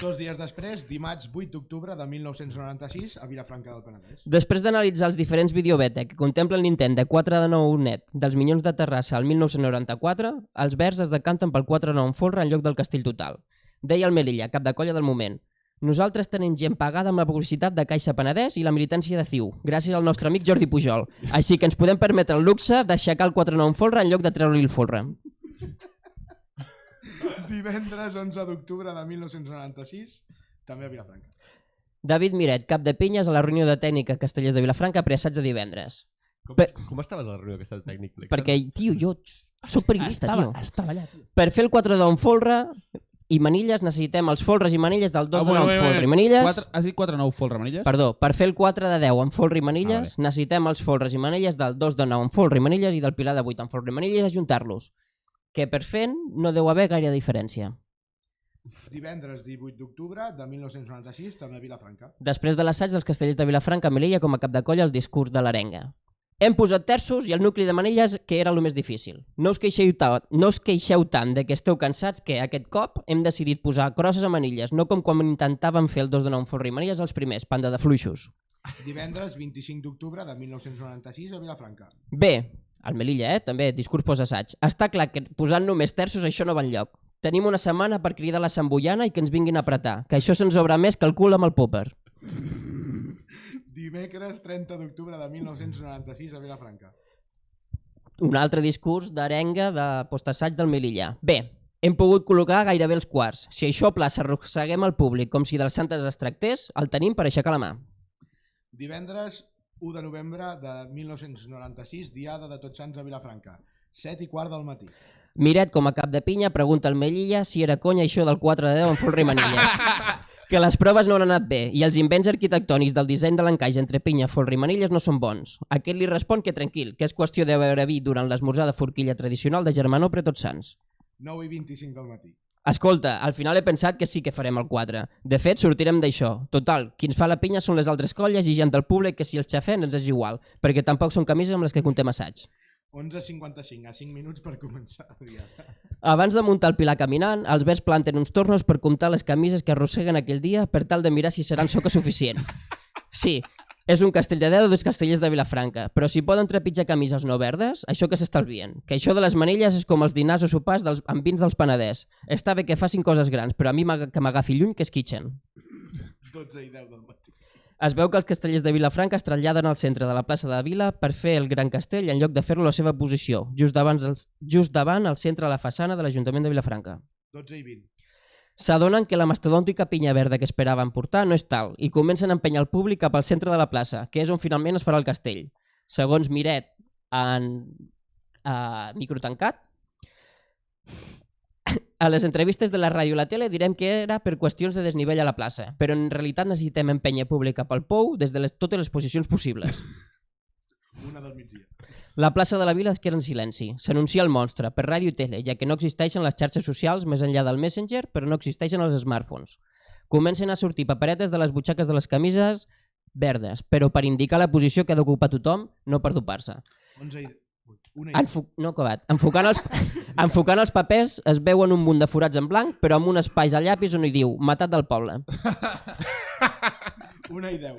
S4: Dos dies després, dimarts 8 d'octubre de 1996, a Vilafranca del Penedès.
S2: Després d'analitzar els diferents videobeta que contemplen Nintendo 4 de 9 net dels Minyons de Terrassa al 1994, els verds es decanten pel 4 de 9 en folre en lloc del castell total. Deia el Melilla, cap de colla del moment. Nosaltres tenim gent pagada amb la publicitat de Caixa Penedès i la militància de CiU, gràcies al nostre amic Jordi Pujol. Així que ens podem permetre el luxe d'aixecar el 4 de 9 en folre en lloc de treure-li el folre.
S4: Divendres 11 d'octubre de 1996, també a Vilafranca.
S2: David Miret, cap de pinyes a la reunió de tècnica Castellers de Vilafranca preassaig de divendres.
S3: Com,
S2: Per-
S3: com estaves a la reunió aquesta del tècnic? Flex?
S2: Perquè, tio, jo sóc periodista, tio.
S1: estava allà.
S2: per fer el 4 d'un folre i manilles necessitem els folres i manilles del 2 ah, de 9 folre i manilles.
S1: 4, has dit 4 9 folre manilles?
S2: Perdó, per fer el 4 de 10 amb folre i
S1: Ah,
S2: manilles, ah, necessitem els folres i manilles del 2 de 9 amb folre i manilles i del pilar de 8 amb folre i manilles i ajuntar-los. Que per fent no deu haver gaire diferència.
S4: Divendres 18 d'octubre de 1996, també a Vilafranca.
S2: Després de l'assaig dels castellers de Vilafranca, Melilla com a cap de colla el discurs de l'arenga. Hem posat terços i el nucli de manilles, que era el més difícil. No us, queixeu ta, no us queixeu tant de que esteu cansats que aquest cop hem decidit posar crosses a manilles, no com quan intentàvem fer el 2 de 9 amb folre i manilles els primers, panda de fluixos.
S4: Divendres 25 d'octubre de 1996 a Vilafranca.
S2: Bé, el Melilla, eh? També, discurs post-assaig. Està clar que posant només terços això no va enlloc. Tenim una setmana per cridar la sambullana i que ens vinguin a apretar, que això se'ns obre més que el cul amb el popper.
S4: Dimecres 30 d'octubre de 1996 a Vilafranca.
S2: un altre discurs d'arenga de postassaig del Melilla. Bé, hem pogut col·locar gairebé els quarts. Si això a plaça arrosseguem el públic com si de les santes es tractés, el tenim per aixecar la mà.
S4: Divendres 1 de novembre de 1996, Diada de Tots Sants a Vilafranca. 7 i quart del matí.
S2: Miret, com a cap de pinya, pregunta al Melilla si era conya això del 4 de 10 en full manilles. que les proves no han anat bé i els invents arquitectònics del disseny de l'encaix entre pinya, folre i manilles no són bons. Aquest li respon que tranquil, que és qüestió de beure vi durant l'esmorzar de forquilla tradicional de Germanó per tots sants.
S4: 9 i 25 del matí.
S2: Escolta, al final he pensat que sí que farem el 4. De fet, sortirem d'això. Total, qui ens fa la pinya són les altres colles i gent del públic que si els xafen ens és igual, perquè tampoc són camises amb les que contem assaig.
S4: 11.55, a 5 minuts per començar. Ja.
S2: Abans de muntar el pilar caminant, els verds planten uns tornos per comptar les camises que arrosseguen aquell dia per tal de mirar si seran soca suficient. Sí, és un castell de deu dels castellers de Vilafranca, però si poden trepitjar camises no verdes, això que s'estalvien. Que això de les manilles és com els dinars o sopars dels, amb vins dels Penedès. Està bé que facin coses grans, però a mi m'aga- que m'agafi lluny que es quitxen.
S4: 12 i 10 del matí.
S2: Es veu que els castellers de Vilafranca es traslladen al centre de la plaça de la Vila per fer el gran castell en lloc de fer-lo a la seva posició, just, abans els, just davant el centre de la façana de l'Ajuntament de Vilafranca.
S4: 12 i 20.
S2: S'adonen que la mastodòntica pinya verda que esperaven portar no és tal i comencen a empènyer el públic cap al centre de la plaça, que és on finalment es farà el castell. Segons Miret, en uh, microtancat, a les entrevistes de la ràdio i la tele direm que era per qüestions de desnivell a la plaça, però en realitat necessitem empènyer públic cap al pou des de les, totes les posicions possibles.
S4: Una del migdia.
S2: La plaça de la vila es queda en silenci. S'anuncia el monstre per ràdio i tele, ja que no existeixen les xarxes socials més enllà del Messenger, però no existeixen els smartphones. Comencen a sortir paperetes de les butxaques de les camises verdes, però per indicar la posició que ha d'ocupar tothom, no per dopar-se.
S4: 11 i... ui, Una i...
S2: Enfo... No acabat. Enfocant els... Enfocant els papers, es veuen un munt de forats en blanc, però amb un espai a llapis on hi diu «Matat del poble».
S4: Una i 10.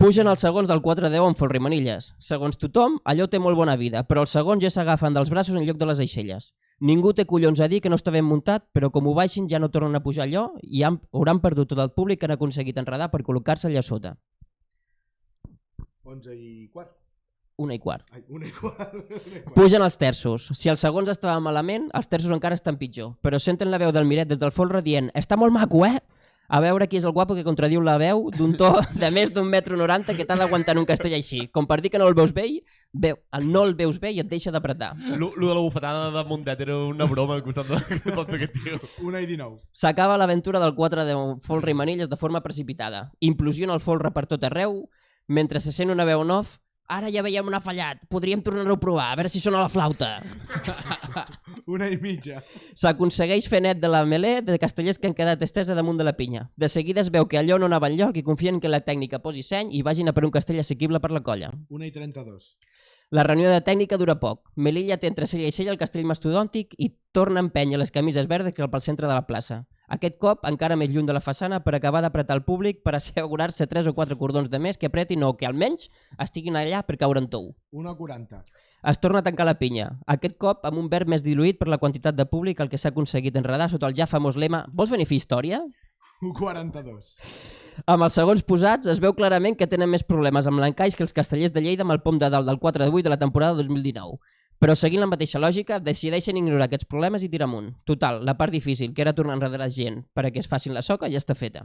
S2: Pugen els segons del 4-10 amb folre i manilles. Segons tothom, allò té molt bona vida, però els segons ja s'agafen dels braços en lloc de les aixelles. Ningú té collons a dir que no està ben muntat, però com ho baixin ja no tornen a pujar allò i han, hauran perdut tot el públic que han aconseguit enredar per col·locar-se allà sota.
S4: 11 i quart.
S2: Una i quart.
S4: Ai, una i quart. Una i quart.
S2: Pugen els terços. Si els segons estaven malament, els terços encara estan pitjor, però senten la veu del Miret des del folre dient «Està molt maco, eh?», a veure qui és el guapo que contradiu la veu d'un to de més d'un metro noranta que t'ha d'aguantar en un castell així. Com per dir que no el veus vell, veu, el no el veus vell i et deixa d'apretar.
S3: Lo, lo de la bufetada de Mundet era una broma al costat de, de tot aquest tio.
S4: Una i 19.
S2: S'acaba l'aventura del 4 de folre i manilles de forma precipitada. Implosiona el folre per tot arreu, mentre se sent una veu en off, ara ja veiem una fallat, podríem tornar-ho a provar, a veure si sona la flauta.
S4: Una i mitja.
S2: S'aconsegueix fer net de la melé de castellers que han quedat estesa damunt de la pinya. De seguida es veu que allò no anava enlloc i confien que la tècnica posi seny i vagin a per un castell assequible per la colla.
S4: Una i 32.
S2: La reunió de tècnica dura poc. Melilla té entre cella i cella el castell mastodòntic i torna a empènyer les camises verdes que pel centre de la plaça. Aquest cop encara més lluny de la façana per acabar d'apretar el públic per assegurar-se tres o quatre cordons de més que apretin o que almenys estiguin allà per caure en tou.
S4: Una i 40.
S2: Es torna a tancar la pinya, aquest cop amb un verb més diluït per la quantitat de públic al que s'ha aconseguit enredar sota el ja famós lema «Vols venir a fer història?».
S4: Un 42.
S2: Amb els segons posats es veu clarament que tenen més problemes amb l'encaix que els castellers de Lleida amb el pom de dalt del 4 de 8 de la temporada 2019. Però seguint la mateixa lògica, decideixen ignorar aquests problemes i tirar amunt. Total, la part difícil, que era tornar enrere la gent perquè es facin la soca, ja està feta.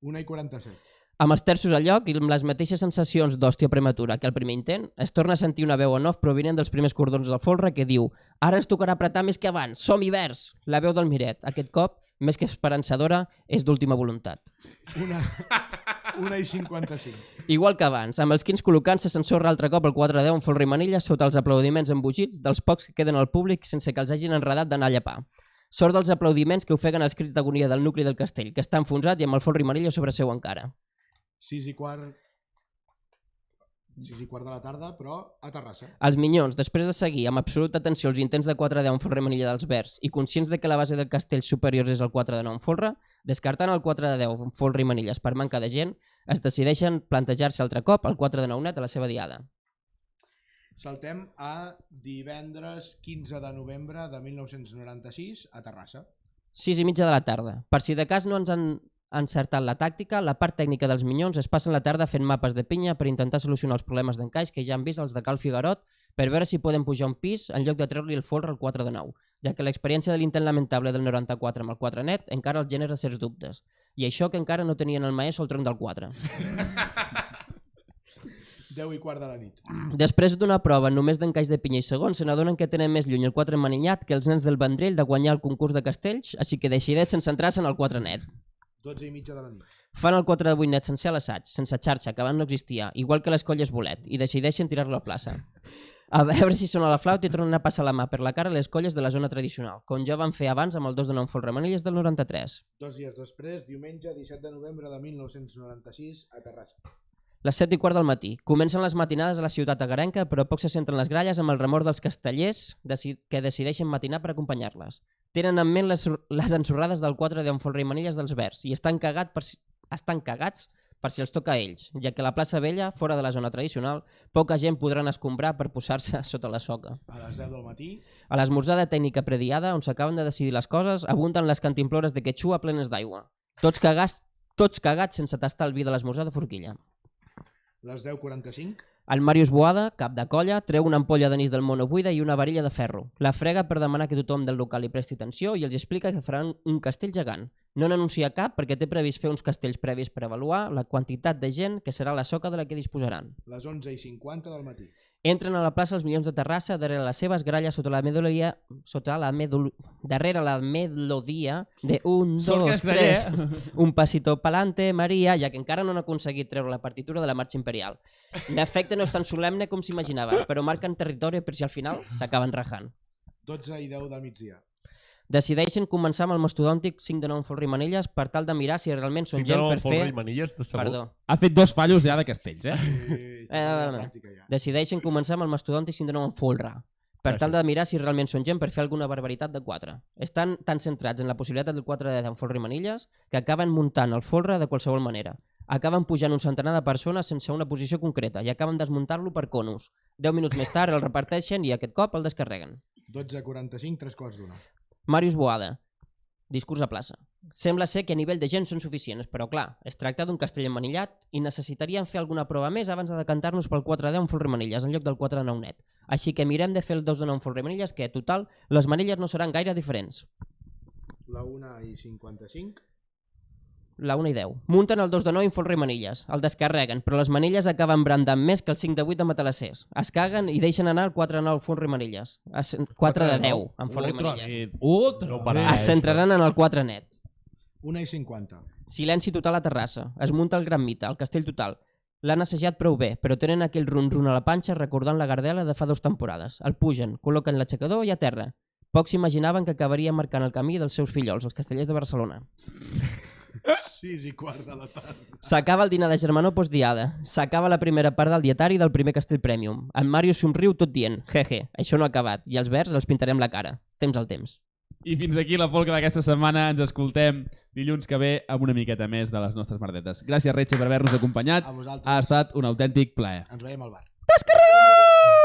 S4: Una i 47.
S2: Amb els terços al lloc i amb les mateixes sensacions d'hòstia prematura que el primer intent, es torna a sentir una veu en off provinent dels primers cordons del folre que diu «Ara ens tocarà apretar més que abans, som hiverns!» La veu del Miret, aquest cop, més que esperançadora, és d'última voluntat.
S4: Una... Una i 55.
S2: Igual que abans, amb els quins col·locant-se s'ensorra altre cop el 4 10 amb folre i manilles sota els aplaudiments embogits dels pocs que queden al públic sense que els hagin enredat d'anar a llapar. Sort dels aplaudiments que ofeguen els crits d'agonia del nucli del castell, que està enfonsat i amb el folre i manilles sobre seu encara.
S4: 6 i quart... 6 i quart de la tarda, però a Terrassa.
S2: Els minyons, després de seguir amb absoluta atenció els intents de 4 10 amb folre i manilla dels verds i conscients de que la base del castell superior és el 4 de 9 amb folre, descartant el 4 de 10 amb folre i manilles per manca de gent, es decideixen plantejar-se altre cop el 4 de 9 net a la seva diada.
S4: Saltem a divendres 15 de novembre de 1996 a Terrassa.
S2: 6 i mitja de la tarda. Per si de cas no ens han encertat la tàctica, la part tècnica dels minyons es passen la tarda fent mapes de pinya per intentar solucionar els problemes d'encaix que ja han vist els de Cal Figarot per veure si poden pujar un pis en lloc de treure-li el folre al 4 de 9, ja que l'experiència de l'intent lamentable del 94 amb el 4 net encara els genera certs dubtes. I això que encara no tenien el maestro al tronc del 4.
S4: 10 i quart de la nit.
S2: Després d'una prova només d'encaix de pinya i segon, se n'adonen que tenen més lluny el 4 maninyat que els nens del Vendrell de guanyar el concurs de castells, així que decideixen centrar-se en el 4 net.
S4: 12 i mitja de la nit.
S2: Fan el 4 de 8 net sencer a l'assaig, sense xarxa, que abans no existia, igual que les colles bolet, i decideixen tirar-lo a plaça. A veure si sona la flauta i tornen a passar la mà per la cara a les colles de la zona tradicional, com ja van fer abans amb el 2 de 9 Folre Manilles del 93.
S4: Dos dies després, diumenge 17 de novembre de 1996 a Terrassa.
S2: Les 7 i quart del matí. Comencen les matinades a la ciutat agarenca, però poc se senten les gralles amb el remor dels castellers deci- que decideixen matinar per acompanyar-les. Tenen en ment les, les ensorrades del 4 d'Enfolre i Manilles dels Verds i estan, cagat per si, estan cagats per si els toca a ells, ja que a la plaça Vella, fora de la zona tradicional, poca gent podran escombrar per posar-se sota la soca.
S4: A les 10 del matí.
S2: A l'esmorzar de tècnica prediada, on s'acaben de decidir les coses, abunden les cantimplores de quechua plenes d'aigua. Tots cagats, tots cagats sense tastar el vi de l'esmorzar de forquilla.
S4: Les 10.45.
S2: El Màrius Boada, cap de colla, treu una ampolla d'anís del mono buida i una varilla de ferro. La frega per demanar que tothom del local hi presti atenció i els explica que faran un castell gegant. No n'anuncia cap perquè té previst fer uns castells previs per avaluar la quantitat de gent que serà la soca de la que disposaran.
S4: Les 11.50 del matí.
S2: Entren a la plaça els milions de Terrassa darrere les seves gralles sota la melodia sota la medul... darrere la melodia de un,
S1: Sol
S2: dos,
S1: casteller.
S2: tres, un passito pa'lante, Maria, ja que encara no han aconseguit treure la partitura de la marxa imperial. L'efecte no és tan solemne com s'imaginaven, però marquen territori per si al final s'acaben rajant.
S4: 12 i 10 del migdia.
S2: Decideixen començar amb el mastodòntic 5 de 9 Folri Manilles per tal de mirar si realment són
S3: Si
S2: gent
S3: no,
S2: per
S3: Folre
S2: fer...
S3: i Manilles, de segur.
S2: Perdó.
S1: Ha fet dos fallos ja de castells, eh?
S4: Eh,
S2: vale,
S4: la
S2: vale.
S4: pràctica ja.
S2: Decideixen començar amb el mastodòntic síndrome en folre, per tal de mirar si realment són gent per fer alguna barbaritat de quatre. Estan tan centrats en la possibilitat del 4 d'en Folre i Manilles que acaben muntant el folre de qualsevol manera. Acaben pujant un centenar de persones sense una posició concreta i acaben desmuntant-lo per conos. Deu minuts més tard el reparteixen i aquest cop el descarreguen.
S4: 12.45, tres quarts d'una.
S2: Màrius Boada. Discurs a plaça. Sembla ser que a nivell de gent són suficients, però clar, es tracta d'un castell emmanillat i necessitaríem fer alguna prova més abans de decantar-nos pel 4 de 9 folre manilles en lloc del 4 de 9 net. Així que mirem de fer el 2 de 9 folre manilles que, total, les manilles no seran gaire diferents.
S4: La 1 i 55.
S2: La 1 i 10. Munten el 2 de 9 en folre manilles. El descarreguen, però les manilles acaben brandant més que el 5 de 8 de matalassers. Es caguen i deixen anar el 4 de 9 folre manilles. Es... 4 de 10 en folre manilles.
S1: Otra
S3: No
S1: vez.
S3: parar.
S2: Es centraran en el 4 net.
S4: 1 i 50.
S2: Silenci total a Terrassa. Es munta el gran mite, el castell total. L'han assajat prou bé, però tenen aquell run-run a la panxa recordant la gardela de fa dues temporades. El pugen, col·loquen l'aixecador i a terra. Pocs s'imaginaven que acabaria marcant el camí dels seus fillols, els castellers de Barcelona.
S4: 6 i quart de la tarda.
S2: S'acaba el dinar de germanor postdiada. S'acaba la primera part del dietari del primer castell Premium. En Mario somriu tot dient, jeje, això no ha acabat, i els verds els pintarem la cara. Temps al temps.
S1: I fins aquí la polca d'aquesta setmana. Ens escoltem dilluns que ve amb una miqueta més de les nostres merdetes. Gràcies, Retxe, per haver-nos acompanyat.
S4: A vosaltres.
S1: Ha estat un autèntic plaer.
S4: Ens veiem al bar.
S2: Descarregar!